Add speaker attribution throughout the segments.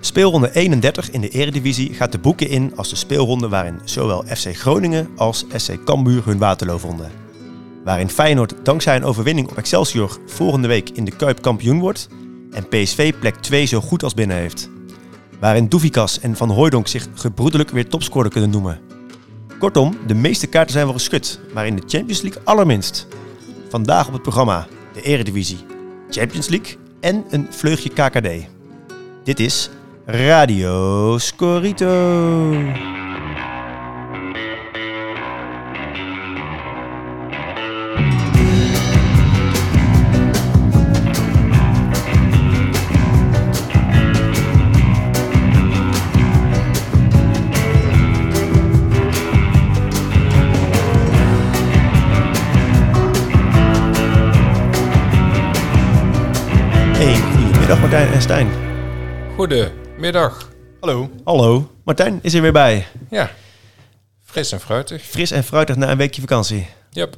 Speaker 1: Speelronde 31 in de Eredivisie gaat de boeken in als de speelronde waarin zowel FC Groningen als SC Cambuur hun Waterloo vonden. Waarin Feyenoord dankzij een overwinning op Excelsior volgende week in de Kuip kampioen wordt en PSV plek 2 zo goed als binnen heeft. Waarin Doevikas en Van Hooijdonk zich gebroedelijk weer topscorer kunnen noemen. Kortom, de meeste kaarten zijn wel geschud, maar in de Champions League allerminst. Vandaag op het programma de Eredivisie, Champions League en een vleugje KKD. Dit is Radio Scorito. Hey, goedemiddag Martijn en Stijn.
Speaker 2: Goedemiddag. Hallo.
Speaker 1: Hallo, Martijn is er weer bij.
Speaker 2: Ja, fris en fruitig.
Speaker 1: Fris en fruitig na een weekje vakantie.
Speaker 2: Yep,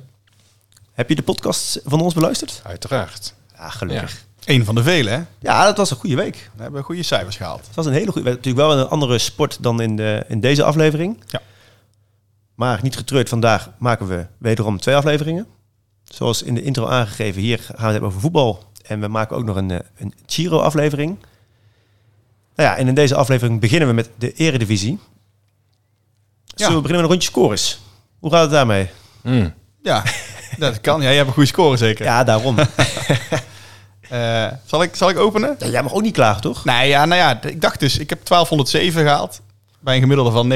Speaker 1: Heb je de podcast van ons beluisterd?
Speaker 2: uiteraard.
Speaker 1: Ja, gelukkig.
Speaker 3: Eén van de vele, hè?
Speaker 1: Ja, dat was een goede week.
Speaker 3: We hebben goede cijfers gehaald.
Speaker 1: Het was een hele goede week. Natuurlijk wel een andere sport dan in, de, in deze aflevering.
Speaker 3: Ja.
Speaker 1: Maar niet getreurd, vandaag maken we wederom twee afleveringen. Zoals in de intro aangegeven, hier gaan we het hebben over voetbal. En we maken ook nog een, eh, een Giro-aflevering. Nou ja, en in deze aflevering beginnen we met de Eredivisie. Zullen we beginnen met een rondje scores? Hoe gaat het daarmee?
Speaker 2: Mm.
Speaker 3: Ja, dat kan. Ja, jij hebt een goede score zeker.
Speaker 1: Ja, daarom.
Speaker 3: Eh, zal, ik, zal ik openen?
Speaker 1: Ja, jij mag ook niet klagen, toch?
Speaker 3: Nee, ja, nou ja, d- ik dacht dus, ik heb 1207 gehaald. Bij een gemiddelde van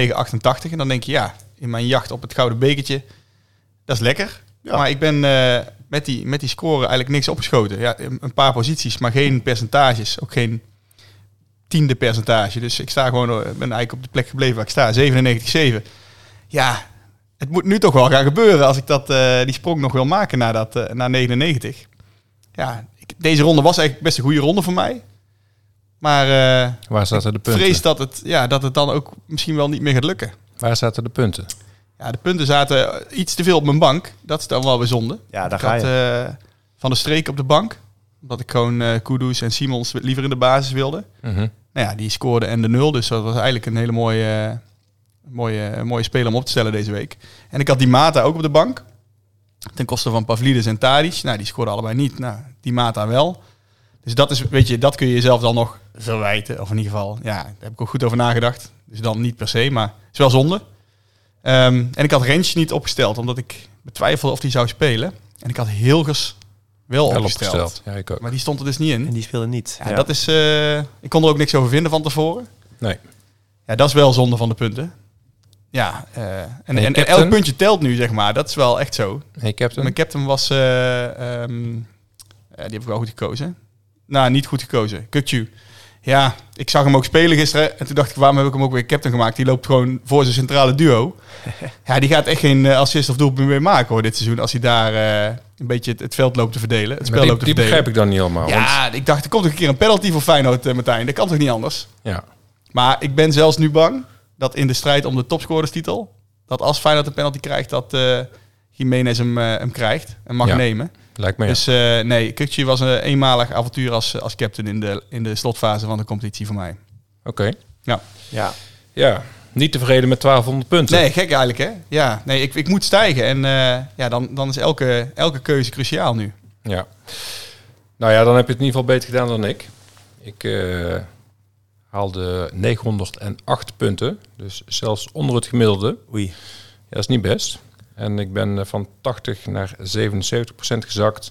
Speaker 3: 9,88. En dan denk je, ja, in mijn jacht op het gouden bekertje, dat is lekker.
Speaker 1: Ja.
Speaker 3: Maar ik ben eh, met, die, met die score eigenlijk niks opgeschoten. Ja, een een paar posities, maar geen percentages. Ook geen tiende percentage. Dus ik sta gewoon, eh, ben eigenlijk op de plek gebleven waar ik sta, 97,7. Ja, het moet nu toch wel gaan gebeuren als ik dat, eh, die sprong nog wil maken naar, dat, eh, naar 99. Ja, ik- deze ronde was eigenlijk best een goede ronde voor mij. Maar eh,
Speaker 2: Waar zaten de punten?
Speaker 3: vrees dat het, ja, dat het dan ook misschien wel niet meer gaat lukken.
Speaker 2: Waar zaten de punten?
Speaker 3: Ja, de punten zaten eh, iets te veel op mijn bank. Dat is dan wel weer zonde.
Speaker 1: Ja, daar
Speaker 3: Ik
Speaker 1: ga
Speaker 3: had
Speaker 1: je.
Speaker 3: eh, van de streek op de bank. Omdat ik gewoon eh Kudus en Simons liever in de basis wilde.
Speaker 2: Mhm.
Speaker 3: Nou ja, die scoorde en de nul. Dus dat was eigenlijk een hele mooie, eh, mooie, eh, mooie speler om op te stellen deze week. En ik had die Mata ook op de bank. Ten koste van Pavlidis en Tadic. Nou, die scoorden allebei niet. Nou, die Mata wel. Dus dat is, weet je, dat kun je jezelf dan nog verwijten. Of in ieder geval, ja, daar heb ik ook goed over nagedacht. Dus dan niet per se, maar het is wel zonde. Ehm, en ik had Rens niet opgesteld, omdat ik betwijfelde of die zou spelen. En ik had Hilgers wel,
Speaker 2: Wel
Speaker 3: opgesteld.
Speaker 2: opgesteld. Ja, ik ook.
Speaker 3: Maar die stond er dus niet in.
Speaker 1: En die speelde niet.
Speaker 3: Ja, Dat is, eh, ik kon er ook niks over vinden van tevoren.
Speaker 2: Nee.
Speaker 3: Ja, dat is wel zonde van de punten. Ja, eh, en, en,
Speaker 2: je
Speaker 3: en
Speaker 2: captain?
Speaker 3: elk puntje telt nu, zeg maar. Dat is wel echt zo.
Speaker 2: Hey,
Speaker 3: Mijn
Speaker 2: captain.
Speaker 3: captain was... eh, ehm, eh, die heb ik wel goed gekozen. Nou, niet goed gekozen. Kukju. Ja, ik zag hem ook spelen gisteren. En toen dacht ik, waarom heb ik hem ook weer captain gemaakt? Die loopt gewoon voor zijn centrale duo. ja, die gaat echt geen eh, assist of doelpunt meer maken hoor, dit seizoen. Als hij daar eh, een beetje het, het veld loopt te verdelen. Het
Speaker 2: Maar
Speaker 3: spel
Speaker 2: die,
Speaker 3: loopt te
Speaker 2: die
Speaker 3: verdelen.
Speaker 2: begrijp ik dan niet helemaal. want-
Speaker 3: Ja, ik dacht, er komt toch een keer een penalty voor Feyenoord, eh, Martijn. Dat kan toch niet anders?
Speaker 2: ja.
Speaker 3: Maar ik ben zelfs nu bang dat in de strijd om de topscorerstitel... dat als Feyenoord een penalty krijgt, dat eh Jiménez hem, eh, hem krijgt en mag
Speaker 2: Ja.
Speaker 3: nemen.
Speaker 2: Lijkt me.
Speaker 3: Dus eh, nee, Kukje was een eenmalig avontuur als, eh, als captain in de, in de slotfase van de competitie voor mij.
Speaker 2: Oké.
Speaker 3: Ja.
Speaker 1: ja.
Speaker 2: Ja. Niet tevreden met 1200 punten.
Speaker 3: Nee, gek eigenlijk hè? Ja, nee, ik, ik moet stijgen en eh, ja, dan, dan is elke, elke keuze cruciaal nu.
Speaker 2: Ja. Nou ja, dan heb je het in ieder geval beter gedaan dan ik. Ik eh, haalde 908 punten. Dus zelfs onder het gemiddelde.
Speaker 1: Oei.
Speaker 2: Ja, dat is niet best. En ik ben eh, van 80 naar 77 procent gezakt.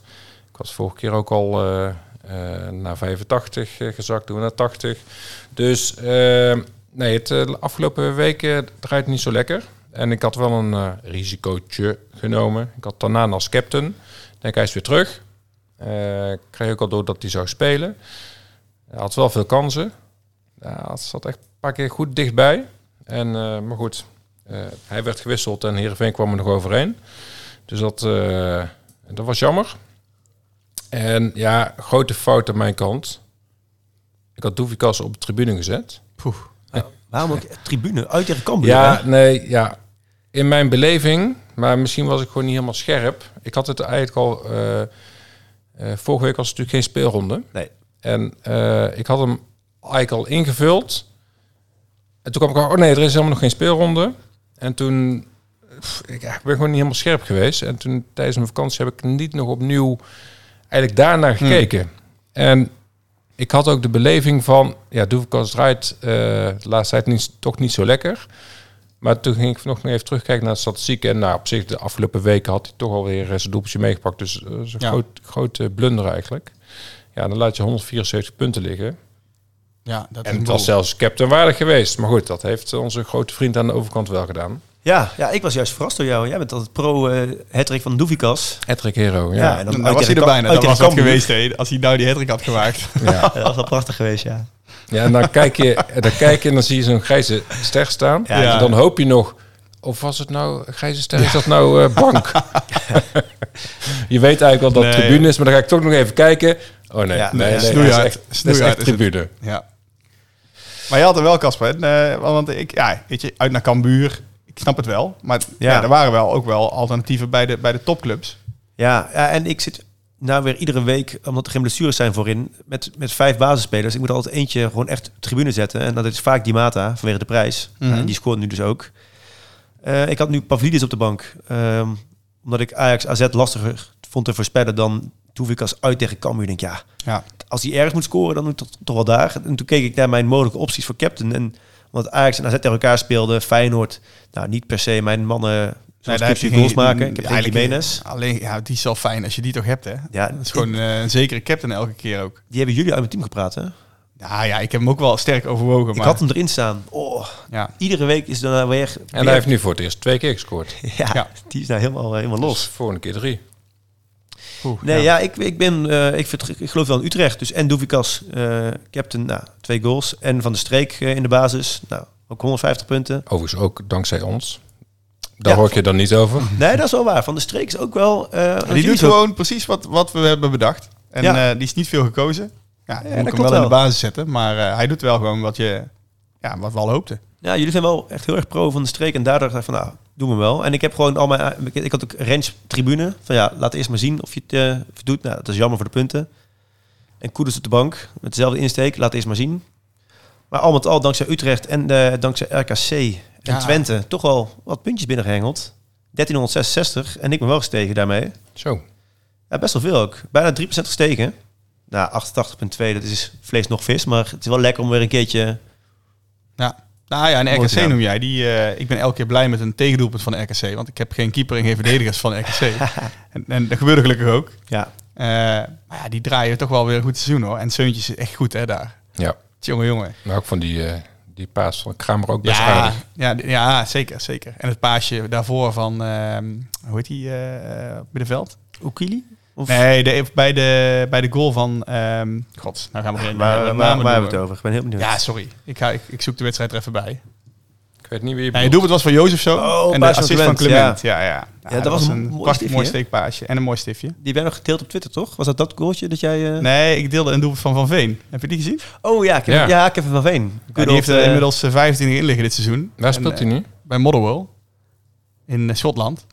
Speaker 2: Ik was vorige keer ook al eh, eh, naar 85 eh, gezakt, toen naar 80. Dus eh, nee, het eh, de afgelopen weken draait niet zo lekker. En ik had wel een eh, risicootje genomen. Ik had Tanaan als captain. Ik Denk hij is weer terug. Eh, Ik kreeg ook al door dat hij zou spelen. Hij had wel veel kansen. Ja, het zat echt een paar keer goed dichtbij. En, eh, maar goed, eh, hij werd gewisseld en Heerenveen kwam er nog overheen. Dus dat, eh, dat was jammer. En ja, grote fout aan mijn kant. Ik had Doevikas op de tribune gezet.
Speaker 1: Waarom ook tribune uit tegen Cambuur?
Speaker 2: Ja,
Speaker 1: hè?
Speaker 2: nee, ja. In mijn beleving, maar misschien was ik gewoon niet helemaal scherp. Ik had het eigenlijk al... eh, eh, vorige week was het natuurlijk geen speelronde.
Speaker 1: Nee.
Speaker 2: En eh, ik had hem eigenlijk al ingevuld. En toen kwam ik, oh nee, er is helemaal nog geen speelronde. En toen, pff, ik ja, ik ben gewoon niet helemaal scherp geweest. En toen tijdens mijn vakantie heb ik niet nog opnieuw eigenlijk daarnaar
Speaker 3: Hmm.
Speaker 2: gekeken. En ik had ook de beleving van, ja, Doevenkast draait eh, de laatste tijd niet, toch niet zo lekker. Maar toen ging ik vanochtend even terugkijken naar de statistieken. En nou, op zich, de afgelopen weken had hij toch alweer eh, zijn doelpuntje meegepakt. Dus eh, dat is een
Speaker 3: Ja.
Speaker 2: groot, grote blunder eigenlijk. Ja, dan laat je 174 punten liggen.
Speaker 3: Ja, dat
Speaker 2: En het was zelfs captain waardig geweest. Maar goed, dat heeft onze grote vriend aan de overkant wel gedaan.
Speaker 1: Ja, ja, ik was juist verrast door jou. Jij bent altijd pro eh hattrick van Doevikas.
Speaker 2: Edric Hero,
Speaker 1: Ja,
Speaker 2: ja.
Speaker 1: en
Speaker 3: Dan,
Speaker 1: uit
Speaker 3: was
Speaker 1: tegen
Speaker 3: hij er
Speaker 1: Kam-
Speaker 2: oh,
Speaker 3: bijna.
Speaker 1: uit
Speaker 3: Dat
Speaker 1: tegen
Speaker 3: was dat
Speaker 1: Cambuur.
Speaker 3: geweest, hè, als hij nou die hattrick had gemaakt.
Speaker 2: Ja.
Speaker 1: Ja, dat was wel prachtig geweest, ja.
Speaker 2: ja, en dan kijk, je, en dan kijk je en dan zie je zo'n grijze ster staan.
Speaker 1: Ja.
Speaker 2: En dan hoop je nog... Of was het nou grijze ster? Is dat nou eh, bank? je weet eigenlijk wel dat het
Speaker 3: Nee.
Speaker 2: tribune is, maar dan ga ik toch nog even kijken. Oh
Speaker 1: Ja,
Speaker 2: nee, nee,
Speaker 1: nee,
Speaker 2: nee, dat is
Speaker 3: snoeihard.
Speaker 2: echt, dat is
Speaker 3: Snoeihard
Speaker 2: echt
Speaker 3: is het.
Speaker 2: tribune.
Speaker 3: Ja. Maar je had er wel, Casper. En, eh, want ik, ja, weet je, uit naar Cambuur. Ik snap het wel. Maar
Speaker 1: Ja.
Speaker 3: ja. er waren wel ook wel alternatieven bij de, bij de topclubs.
Speaker 1: Ja, ja, en ik zit nou weer iedere week, omdat er geen blessures zijn voorin, met, met vijf basisspelers. Ik moet er altijd eentje gewoon echt op tribune zetten. En dat is vaak die Mata, vanwege de prijs.
Speaker 3: Mhm.
Speaker 1: Ja, en die scoort nu dus ook. Eh, ik had nu Pavlidis op de bank. ehm, omdat ik Ajax AZ lastiger vond te voorspellen dan Toevikas uit tegen Cambuur. Ik denk, ja,
Speaker 3: Ja.
Speaker 1: als hij ergens moet scoren, dan moet het toch- toch wel daar. En toen keek ik naar mijn mogelijke opties voor captain. En, want Ajax en AZ tegen elkaar speelden. Feyenoord, nou niet per se mijn mannen... Zoals
Speaker 3: daar
Speaker 1: nee,
Speaker 3: heb je
Speaker 1: die goals
Speaker 3: geen- mm,
Speaker 1: maken. Ik heb geen
Speaker 3: eigenlijk-
Speaker 1: Jiménez.
Speaker 3: Alleen, ja, die is wel fijn als je die toch hebt, hè?
Speaker 1: Ja,
Speaker 3: Dat is gewoon eh, een zekere captain elke keer ook.
Speaker 1: Die hebben jullie uit mijn team gepraat, hè?
Speaker 3: Ja, ja, ik heb hem ook wel sterk overwogen.
Speaker 1: Ik
Speaker 3: Maar,
Speaker 1: had hem erin staan. Oh,
Speaker 3: ja.
Speaker 1: iedere week is dan weer...
Speaker 2: En hij heeft nu voor het eerst twee keer gescoord.
Speaker 1: ja,
Speaker 3: Ja.
Speaker 1: die is nou helemaal, eh, helemaal
Speaker 2: Los.
Speaker 1: los.
Speaker 2: Volgende keer drie.
Speaker 3: Oeh,
Speaker 1: Nee,
Speaker 3: ja.
Speaker 1: ja, ik, ik ben... eh, ik, vertr- ik geloof wel in Utrecht. Dus en Doevikas, eh, captain, nou, twee goals. En Van de Streek eh, in de basis. Nou, ook 150 punten.
Speaker 2: Overigens ook dankzij ons. Daar
Speaker 1: Ja.
Speaker 2: hoor ik je dan niet over.
Speaker 1: Nee, dat is wel waar. Van de Streek is ook wel... eh, want
Speaker 3: Die
Speaker 1: jullie
Speaker 3: doet
Speaker 1: zo-
Speaker 3: gewoon precies wat, wat we hebben bedacht. En
Speaker 1: Ja.
Speaker 3: eh, die is niet veel gekozen. Ja, dan
Speaker 1: Ja,
Speaker 3: moet
Speaker 1: dat
Speaker 3: ik hem wel,
Speaker 1: klopt
Speaker 3: in de
Speaker 1: wel.
Speaker 3: basis zetten. Maar eh, hij doet wel gewoon wat, je, ja, wat we al hoopten.
Speaker 1: Ja, jullie zijn wel echt heel erg pro van de Streek. En daardoor dacht ik van, nou, doen we wel. En ik heb gewoon al mijn... Ik, ik had ook range tribune. Van ja, laat eerst maar zien of je het, eh, of je het doet. Nou, dat is jammer voor de punten. En Koeders op de bank. Met dezelfde insteek. Laat eerst maar zien. Maar al met al, dankzij Utrecht en eh, dankzij RKC en
Speaker 3: Ja.
Speaker 1: Twente... toch wel wat puntjes binnengehengeld. 1366. En ik ben wel gestegen daarmee.
Speaker 2: Zo.
Speaker 1: Ja, best wel veel ook. Bijna 3% gestegen. Nou, 88,2. Dat is vlees nog vis. Maar het is wel lekker om weer een keertje...
Speaker 3: Nou ja, en
Speaker 1: Mooi
Speaker 3: RKC
Speaker 1: gedaan.
Speaker 3: noem jij. Die, eh, ik ben elke keer blij met een tegendoelpunt van de RKC. Want ik heb geen keeper en geen verdedigers van de RKC. en, en dat gebeurde gelukkig ook.
Speaker 1: Ja,
Speaker 3: Eh, maar ja, die draaien toch wel weer een goed seizoen hoor. En Seuntjes is echt goed hè daar.
Speaker 2: Ja.
Speaker 3: Jongen, jongen.
Speaker 2: Maar ook van die, eh, die paas van Kramer ook best
Speaker 3: Ja,
Speaker 2: aardig.
Speaker 3: ja, d- ja, zeker, zeker. En het paasje daarvoor van, ehm hoe heet die, eh op middenveld?
Speaker 1: Oekili? Of-
Speaker 3: Nee, de, bij, de, bij de goal van, ehm, god, nou gaan we geen
Speaker 1: Waar, waar,
Speaker 3: namen
Speaker 1: waar hebben
Speaker 3: noemen.
Speaker 1: we het over? Ik ben heel benieuwd.
Speaker 3: Ja, sorry. Ik, ga, ik, ik zoek de wedstrijd er even bij.
Speaker 2: Ik weet niet wie je bedoelt.
Speaker 3: Nee, het doelpunt was van Jozef zo.
Speaker 1: Oh,
Speaker 3: en de
Speaker 1: paasje van
Speaker 3: assist van
Speaker 1: Clement,
Speaker 3: Clement. Ja, ja. ja.
Speaker 1: dat was een mooi
Speaker 3: prachtig
Speaker 1: stiftje,
Speaker 3: mooi
Speaker 1: hè?
Speaker 3: steekpaasje. En een mooi stiftje.
Speaker 1: Die werden nog gedeeld op Twitter, toch? Was dat dat goaltje dat jij... eh,
Speaker 3: Nee, ik deelde een doelpunt van Van Veen. Heb je die gezien?
Speaker 1: Oh ja, Kevin, ja.
Speaker 2: Ja.
Speaker 1: Kevin van Veen.
Speaker 3: Ja, die heeft er inmiddels eh, 25 in liggen dit seizoen.
Speaker 2: Waar
Speaker 3: En,
Speaker 2: speelt
Speaker 3: eh,
Speaker 2: hij nu?
Speaker 3: bij Motherwell in eh, Schotland.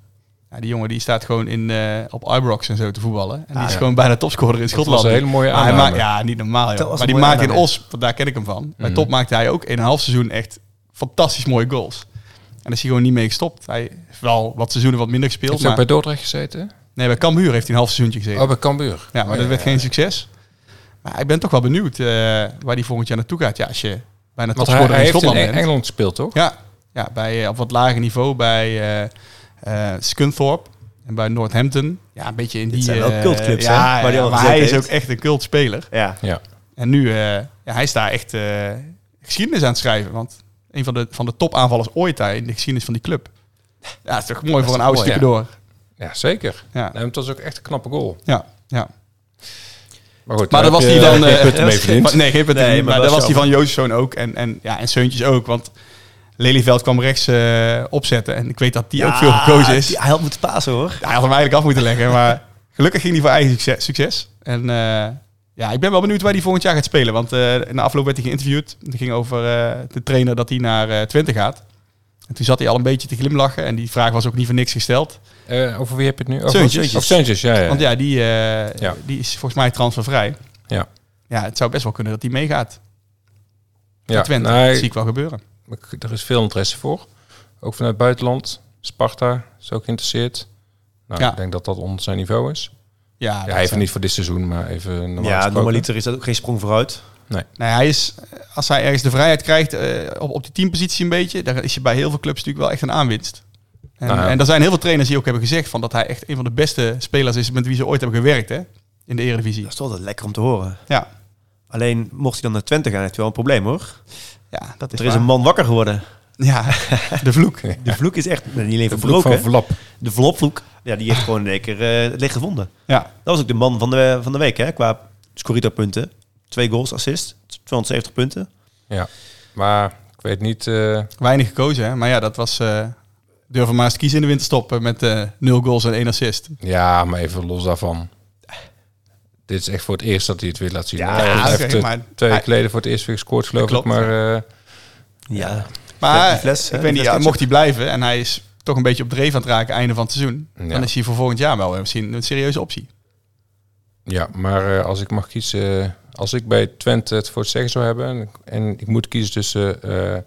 Speaker 3: Ja, die jongen die staat gewoon in, eh, op Ibrox en zo te voetballen. En die
Speaker 1: Ah,
Speaker 3: is
Speaker 2: ja.
Speaker 3: gewoon bijna topscorer in
Speaker 2: Dat
Speaker 3: Schotland.
Speaker 2: was een hele mooie
Speaker 3: Maar hij
Speaker 2: aanname.
Speaker 3: maakt, ja, niet normaal
Speaker 1: Dat was
Speaker 3: joh.
Speaker 1: een
Speaker 3: Maar die
Speaker 1: mooie
Speaker 3: maakt in
Speaker 1: aanname.
Speaker 3: Os, want daar ken ik hem van. Bij
Speaker 2: Mhm.
Speaker 3: Top maakte hij ook in een half seizoen echt fantastisch mooie goals. En daar is hij gewoon niet mee gestopt. Hij heeft wel wat seizoenen wat minder gespeeld.
Speaker 2: Heeft hij
Speaker 3: Maar,
Speaker 2: ook bij Dordrecht gezeten?
Speaker 3: Nee, bij Cambuur heeft hij een half seizoentje gezeten.
Speaker 2: Oh, bij Cambuur.
Speaker 3: ja, maar
Speaker 2: Oh,
Speaker 3: dat werd geen succes. Maar ik ben toch wel benieuwd eh, waar hij volgend jaar naartoe gaat. Ja, als je bijna
Speaker 2: Want hij, hij
Speaker 3: topscorer in
Speaker 2: heeft in
Speaker 3: Schotland
Speaker 2: Eng-
Speaker 3: bent.
Speaker 2: Engeland gespeeld, toch?
Speaker 3: Ja, ja bij, eh, op wat lager niveau bij eh, eh, Scunthorpe en bij Northampton. Ja, een beetje in
Speaker 1: Dit
Speaker 3: die...
Speaker 1: zijn wel
Speaker 3: eh,
Speaker 1: cultclubs, hè,
Speaker 3: ja,
Speaker 1: waar die
Speaker 3: ja,
Speaker 1: al
Speaker 3: maar
Speaker 1: gezeten
Speaker 3: hij is ook
Speaker 1: heeft.
Speaker 3: echt een cultspeler.
Speaker 1: Ja.
Speaker 3: En nu, eh, ja, hij is daar echt eh, geschiedenis aan het schrijven. Want een van de, van de topaanvallers ooit daar in de geschiedenis van die club. Ja, dat is toch mooi voor
Speaker 2: toch
Speaker 3: een oude
Speaker 2: mooi, ja.
Speaker 3: stupidoor.
Speaker 2: Ja, zeker.
Speaker 3: Ja.
Speaker 2: Nee, want dat was ook echt een knappe goal.
Speaker 3: Ja, ja.
Speaker 2: Maar goed,
Speaker 3: Maar
Speaker 2: daar
Speaker 3: dat was
Speaker 2: heb
Speaker 3: die
Speaker 2: je
Speaker 3: dan...
Speaker 2: geen
Speaker 3: eh,
Speaker 2: punten mee
Speaker 1: was-
Speaker 2: verdiend.
Speaker 3: Maar, nee, geen punt.
Speaker 1: Nee,
Speaker 3: Nee,
Speaker 1: maar
Speaker 3: maar
Speaker 1: wel
Speaker 3: dat was die
Speaker 1: jammer.
Speaker 3: van Jozefzoon ook. En, en, ja, en Seuntjes ook. Want Lelyveld kwam rechts eh, opzetten. En ik weet dat die ook veel gekozen is.
Speaker 1: die- hij had moeten pasen, hoor.
Speaker 3: Hij had hem eigenlijk af moeten leggen, maar gelukkig ging hij voor eigen succes. succes. En eh, ja, ik ben wel benieuwd waar hij volgend jaar gaat spelen. Want eh in de afloop werd hij geïnterviewd. Het ging over eh, de trainer dat hij naar eh, Twente gaat. En toen zat hij al een beetje te glimlachen. En die vraag was ook niet voor niks gesteld.
Speaker 2: Eh, over wie heb je het nu? Over
Speaker 3: Zeuntjes.
Speaker 2: Of Zeuntjes, ja. ja.
Speaker 3: Want ja, die, eh,
Speaker 2: Ja.
Speaker 3: die is volgens mij transfervrij.
Speaker 2: Ja.
Speaker 3: ja, het zou best wel kunnen dat hij meegaat. naar Twente.
Speaker 2: nee,
Speaker 3: Dat zie ik wel gebeuren.
Speaker 2: nou, ik- er is veel interesse voor. Ook vanuit het buitenland. Sparta is ook geïnteresseerd. Nou,
Speaker 3: Ja.
Speaker 2: ik denk dat dat onder zijn niveau is.
Speaker 3: Ja, dat eh,
Speaker 2: Ja, even
Speaker 3: zou-
Speaker 2: niet voor dit seizoen, maar even normaal
Speaker 1: Ja,
Speaker 2: gesproken.
Speaker 1: normaliter is dat ook geen sprong vooruit.
Speaker 3: Nou, hij is, als hij ergens de vrijheid krijgt eh, op, op die teampositie een beetje, dan is je bij heel veel clubs natuurlijk wel echt een aanwinst. En,
Speaker 2: Nou ja.
Speaker 3: en er zijn heel veel trainers die ook hebben gezegd van dat hij echt een van de beste spelers is met wie ze ooit hebben gewerkt hè, in de Eredivisie.
Speaker 1: Dat is toch altijd lekker om te horen.
Speaker 3: Ja,
Speaker 1: Alleen, mocht hij dan naar Twente gaan, heeft hij wel een probleem hoor.
Speaker 3: ja dat is,
Speaker 1: Er is
Speaker 3: waar.
Speaker 1: een man wakker geworden.
Speaker 3: Ja, de vloek.
Speaker 1: De vloek is echt, nou, niet alleen
Speaker 2: De vloek
Speaker 1: verbroken.
Speaker 2: van Vlap.
Speaker 1: de vlopvloek, ja, die heeft gewoon in één keer eh, het licht gevonden.
Speaker 3: Ja,
Speaker 1: Dat was ook de man van de, van de week, hè? Qua Scorito-punten. Twee goals, assist, 270 punten.
Speaker 2: Ja, maar ik weet niet... eh,
Speaker 3: weinig gekozen hè. Maar ja, dat was... eh durven maar eens te kiezen in de winterstop eh, met eh nul goals en één assist.
Speaker 2: ja, maar even los daarvan. Dit is echt voor het eerst dat hij het weer laat zien.
Speaker 1: Ja,
Speaker 2: Hij
Speaker 3: oké,
Speaker 2: heeft, eh,
Speaker 3: maar
Speaker 2: twee
Speaker 3: hij-
Speaker 2: jaar geleden voor het eerst weer gescoord, geloof
Speaker 3: Dat
Speaker 2: ik.
Speaker 3: klopt,
Speaker 2: Maar eh,
Speaker 1: Ja,
Speaker 3: Maar
Speaker 1: Die fles, hè,
Speaker 3: Ah, ik weet
Speaker 1: die
Speaker 3: niet,
Speaker 1: fles
Speaker 3: ja, mocht hij blijven en hij is toch een beetje op dreef aan het raken einde van het seizoen,
Speaker 2: Ja.
Speaker 3: dan is hij voor volgend jaar wel eh, misschien een serieuze optie.
Speaker 2: ja, maar eh, als ik mag kiezen... eh, als ik bij Twente het voor het zeggen zou hebben... en ik, en ik moet kiezen tussen eh,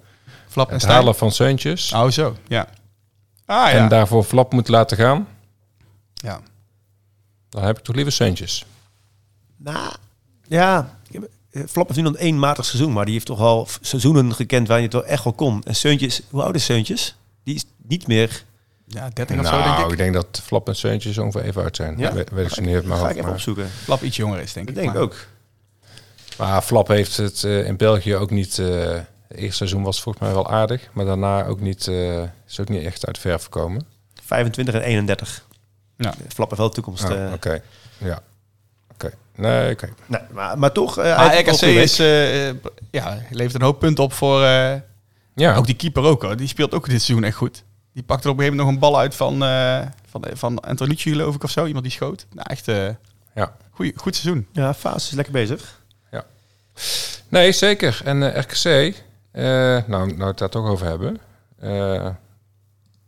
Speaker 3: Flap en
Speaker 2: het
Speaker 3: Stijn.
Speaker 2: halen van Seuntjes...
Speaker 3: Oh, zo. Ja. Ah,
Speaker 2: en
Speaker 3: ja.
Speaker 2: daarvoor Flap moet laten gaan...
Speaker 3: ja.
Speaker 2: dan heb ik toch liever Seuntjes.
Speaker 1: nou, ja. ik heb- eh, Flap heeft nu dan één matig seizoen, maar die heeft toch al f- seizoenen gekend waarin je het wel echt wel kon. En Seuntjes, hoe oud is Seuntjes? Die is niet meer.
Speaker 3: ja, 30 of zo,
Speaker 2: nou,
Speaker 3: denk ik.
Speaker 2: denk dat Flap en Seuntjes ongeveer even uit zijn.
Speaker 1: Ja?
Speaker 2: Ja? Weet, weet ik ze niet uit mijn
Speaker 1: Ga ik
Speaker 2: hoofd.
Speaker 1: even
Speaker 2: Nou, Maar,
Speaker 1: opzoeken.
Speaker 3: Flap iets jonger is, denk
Speaker 1: Dat
Speaker 3: ik.
Speaker 1: denk ik
Speaker 3: maar-
Speaker 1: ook.
Speaker 2: maar Flap heeft het eh, in België ook niet... eh, het eerste seizoen was volgens mij wel aardig. Maar daarna ook niet, eh, is ook niet echt uit de verf gekomen.
Speaker 1: 25 en 31.
Speaker 3: Ja.
Speaker 1: Flap heeft wel de toekomst.
Speaker 2: Oh,
Speaker 1: eh,
Speaker 2: Oké, ja. Oké, nee, oké.
Speaker 1: nee, maar, maar toch. eh,
Speaker 3: Maar
Speaker 1: hij heeft
Speaker 3: RKC
Speaker 1: een goede
Speaker 3: is, eh, eh, ja, levert een hoop punten op voor... eh,
Speaker 2: Ja,
Speaker 3: Ook die keeper ook, hoor. Die speelt ook dit seizoen echt goed. Die pakt er op een gegeven moment nog een bal uit van, eh van, van Antonici, geloof ik, of zo. Iemand die schoot. Nou, echt eh
Speaker 2: Ja.
Speaker 3: goeie, goed seizoen.
Speaker 1: week. Ja, Faas is lekker bezig.
Speaker 2: nee, zeker. En eh, RKC, eh, nou, nou het daar toch over hebben. eh,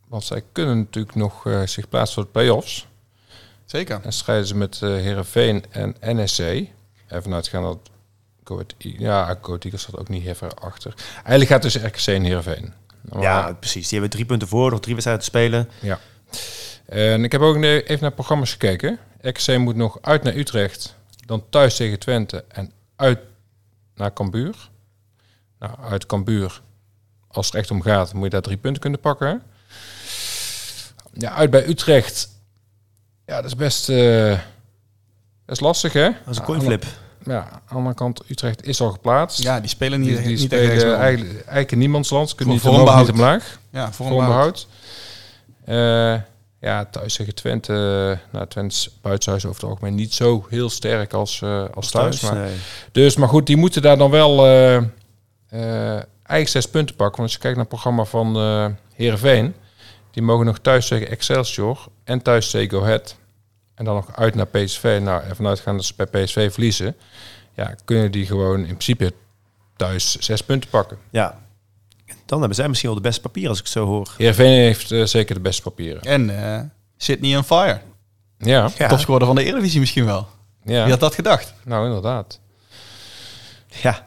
Speaker 2: want zij kunnen natuurlijk nog eh, zich plaatsen voor de play-offs.
Speaker 3: Zeker.
Speaker 2: En strijden ze met eh Herenveen en NSC. Even uitgaan dat. Go Ahead E- Ja, Go Ahead Eagles staat ook niet heel ver achter. Eigenlijk gaat tussen RKC en Herenveen.
Speaker 1: Ja, precies. Die hebben drie punten voor, nog drie wedstrijden te spelen.
Speaker 2: En ik heb ook ne- even naar programma's gekeken. RKC moet nog uit naar Utrecht, dan thuis tegen Twente en uit naar Cambuur. Nou, uit Cambuur, als het er echt om gaat, moet je daar drie punten kunnen pakken. Ja, uit bij Utrecht. Ja, dat is best... eh, dat is lastig, hè?
Speaker 1: Dat is een coinflip.
Speaker 2: Ja, aan de andere kant, Utrecht is al geplaatst.
Speaker 3: Ja, die spelen
Speaker 2: die,
Speaker 3: niet,
Speaker 2: die
Speaker 3: niet echt
Speaker 2: spelen
Speaker 3: ergens meer om.
Speaker 2: eigenlijk, eigenlijk in niemands land. Ze kunnen niet
Speaker 3: Voor-
Speaker 2: omhoog,
Speaker 3: voor
Speaker 2: niet omlaag.
Speaker 3: Ja, voor
Speaker 2: Voor
Speaker 3: een behoud.
Speaker 2: onderhoud. Eh, ja, thuis tegen Twente. eh, Nou, Twente is buitenshuis over het algemeen niet zo heel sterk als, eh, als thuis. maar,
Speaker 1: nee.
Speaker 2: Dus, maar goed, die moeten daar dan wel eh eh, eigenlijk zes punten pakken. Want als je kijkt naar het programma van eh Heerenveen. Die mogen nog thuis tegen Excelsior en thuis tegen Go Ahead. En dan nog uit naar PSV. Nou, ervan uitgaan dat ze bij PSV verliezen. Ja, kunnen die gewoon in principe thuis zes punten pakken.
Speaker 1: Ja. Dan hebben zij misschien wel de beste papier als ik het zo hoor.
Speaker 2: Heerenveen heeft eh, zeker de beste papieren.
Speaker 3: En eh Sydney on fire.
Speaker 2: Ja,
Speaker 1: Ja.
Speaker 3: Topscorer van de Eredivisie misschien wel. Wie
Speaker 2: ja.
Speaker 3: had dat gedacht?
Speaker 2: nou inderdaad.
Speaker 1: Ja.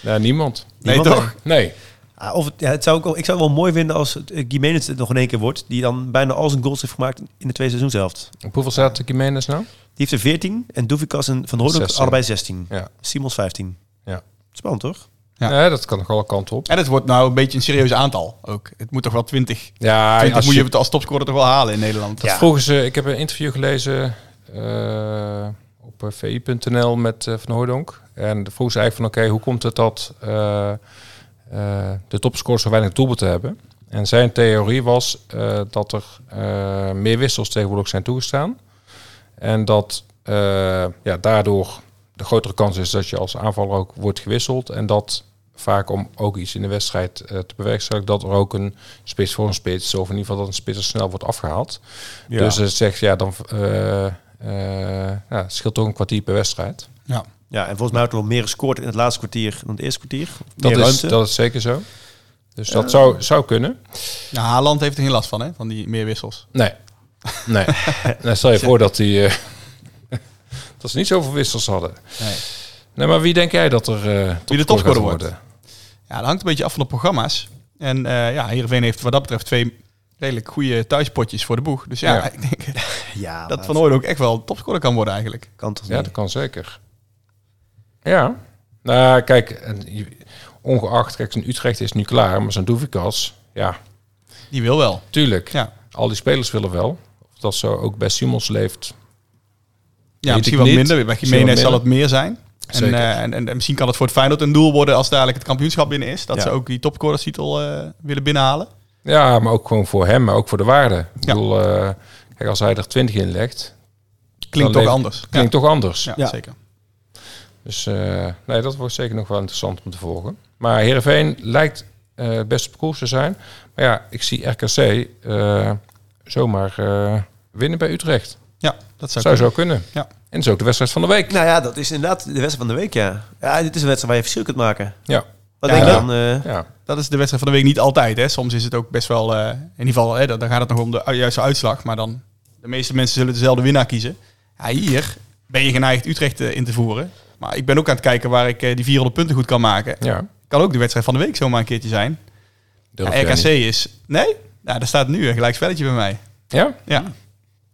Speaker 2: Ja, niemand.
Speaker 3: Nee,
Speaker 1: Niemand
Speaker 3: toch?
Speaker 2: Nee.
Speaker 1: Ah, Of het, ja, het zou ook, wel- ik zou het wel mooi vinden als het, eh, Gimenez het nog in één keer wordt. Die dan bijna al zijn goals heeft gemaakt in de tweede seizoen zelf.
Speaker 2: Op hoeveel staat de Jiménez nou?
Speaker 1: Die heeft er 14 en Doevikas en Van Hoorn
Speaker 2: 16.
Speaker 1: allebei 16.
Speaker 2: Ja.
Speaker 1: Simons 15.
Speaker 2: Ja.
Speaker 1: Spannend toch?
Speaker 3: Ja.
Speaker 2: Nee, dat kan nog alle kanten op.
Speaker 3: En het wordt nou een beetje een serieus aantal ook. Het moet toch wel 20.
Speaker 2: Ja,
Speaker 3: 20
Speaker 2: als
Speaker 3: moet
Speaker 2: je-
Speaker 3: je het als topscorer toch wel halen in Nederland.
Speaker 2: Dat
Speaker 1: Ja.
Speaker 2: vroegen ze. Ik heb een interview gelezen eh, op eh, vi.nl met eh, Van Hooydonk. En vroegen ze eigenlijk van oké, hoe komt het dat eh, eh, de topscorers zo weinig doelpunten hebben? En zijn theorie was eh, dat er eh, meer wissels tegenwoordig zijn toegestaan. En dat eh, ja, daardoor de grotere kans is dat je als aanvaller ook wordt gewisseld. En dat vaak om ook iets in de wedstrijd eh, te bewerkstelligen, dat er ook een spits voor een spits, of in ieder geval dat een spits er snel wordt afgehaald. Dus het zegt, ja, dan eh, eh, ja, het scheelt toch een kwartier per wedstrijd.
Speaker 3: Ja.
Speaker 1: Ja, en volgens mij had er wel meer gescoord in het laatste kwartier dan het eerste kwartier.
Speaker 2: Dat
Speaker 1: meer
Speaker 2: is,
Speaker 1: ruimte.
Speaker 2: dat is zeker zo. Dus dat zou, zou kunnen.
Speaker 3: Nou, Haaland heeft er geen last van, hè? Van die meer wissels.
Speaker 2: Nee. Nee. nou, stel je voor dat die. eh, dat ze niet zoveel wissels hadden.
Speaker 3: Nee.
Speaker 2: Nee, maar wie denk jij dat er. eh
Speaker 3: Wie de
Speaker 2: topscorer
Speaker 3: topscorer
Speaker 2: gaat
Speaker 3: wordt? Ja, dat hangt een beetje af van de programma's. En eh ja, Heerenveen heeft wat dat betreft twee redelijk goede thuispotjes voor de boeg. Dus ja,
Speaker 2: Ja.
Speaker 3: ik denk
Speaker 1: Ja,
Speaker 3: dat Van Ooyen ook echt wel topscorer kan worden eigenlijk.
Speaker 1: kan toch
Speaker 2: Ja,
Speaker 1: niet?
Speaker 2: dat kan zeker. Ja. Nou, kijk, en je- ongeacht, kijk, zijn Utrecht is nu klaar, maar zijn Doevikas, ja,
Speaker 3: Die wil wel.
Speaker 2: tuurlijk.
Speaker 3: Ja,
Speaker 2: Al die spelers willen wel. Of dat zo ook bij Simons leeft.
Speaker 3: ja
Speaker 2: Weet
Speaker 3: misschien
Speaker 2: ik
Speaker 3: wel
Speaker 2: niet.
Speaker 3: minder. Bij
Speaker 2: Misschien
Speaker 3: Jiménez
Speaker 2: wel
Speaker 3: zal het meer zijn. En,
Speaker 2: Zeker.
Speaker 3: eh, en, en, en misschien kan het voor het Feyenoord een doel worden als dadelijk het kampioenschap binnen is. Dat
Speaker 2: Ja.
Speaker 3: ze ook die topscorerstitel eh willen binnenhalen.
Speaker 2: Ja, maar ook gewoon voor hem, maar ook voor de waarde. Ik
Speaker 3: Ja.
Speaker 2: bedoel, eh, kijk, als hij er 20 in legt,
Speaker 3: Klinkt
Speaker 2: Dan
Speaker 3: toch
Speaker 2: leef-
Speaker 3: anders.
Speaker 2: klinkt toch anders.
Speaker 3: ja,
Speaker 1: Ja.
Speaker 3: ja, zeker.
Speaker 2: Dus eh, nee, dat wordt zeker nog wel interessant om te volgen. Maar Heerenveen lijkt eh, het beste op koers te zijn. Maar ja, ik zie RKC eh, zomaar eh, winnen bij Utrecht.
Speaker 3: Ja, dat zou,
Speaker 2: Zou
Speaker 3: kunnen.
Speaker 2: zo kunnen.
Speaker 3: Ja.
Speaker 2: En dat is ook de wedstrijd van de week.
Speaker 1: Nou ja, dat is inderdaad de wedstrijd van de week, ja. Ja, dit is een wedstrijd waar je verschil kunt maken.
Speaker 2: Ja.
Speaker 1: Wat
Speaker 3: Ja,
Speaker 1: denk je
Speaker 2: ja.
Speaker 1: dan? eh?
Speaker 2: Ja.
Speaker 3: Dat is de wedstrijd van de week niet altijd. Hè. Soms is het ook best wel... eh, in ieder geval, hè, dan, dan gaat het nog om de u- juiste uitslag. Maar dan... De meeste mensen zullen dezelfde winnaar kiezen. Ja, hier ben je geneigd Utrecht eh, in te voeren. Maar ik ben ook aan het kijken waar ik eh, die 400 punten goed kan maken.
Speaker 2: ja.
Speaker 3: Kan ook de wedstrijd van de week zomaar een keertje zijn.
Speaker 2: Durf
Speaker 3: Ja,
Speaker 2: jij
Speaker 3: RKC
Speaker 2: niet.
Speaker 3: is... Nee? Nou, daar staat nu een gelijk spelletje bij mij.
Speaker 2: Ja?
Speaker 3: Ja.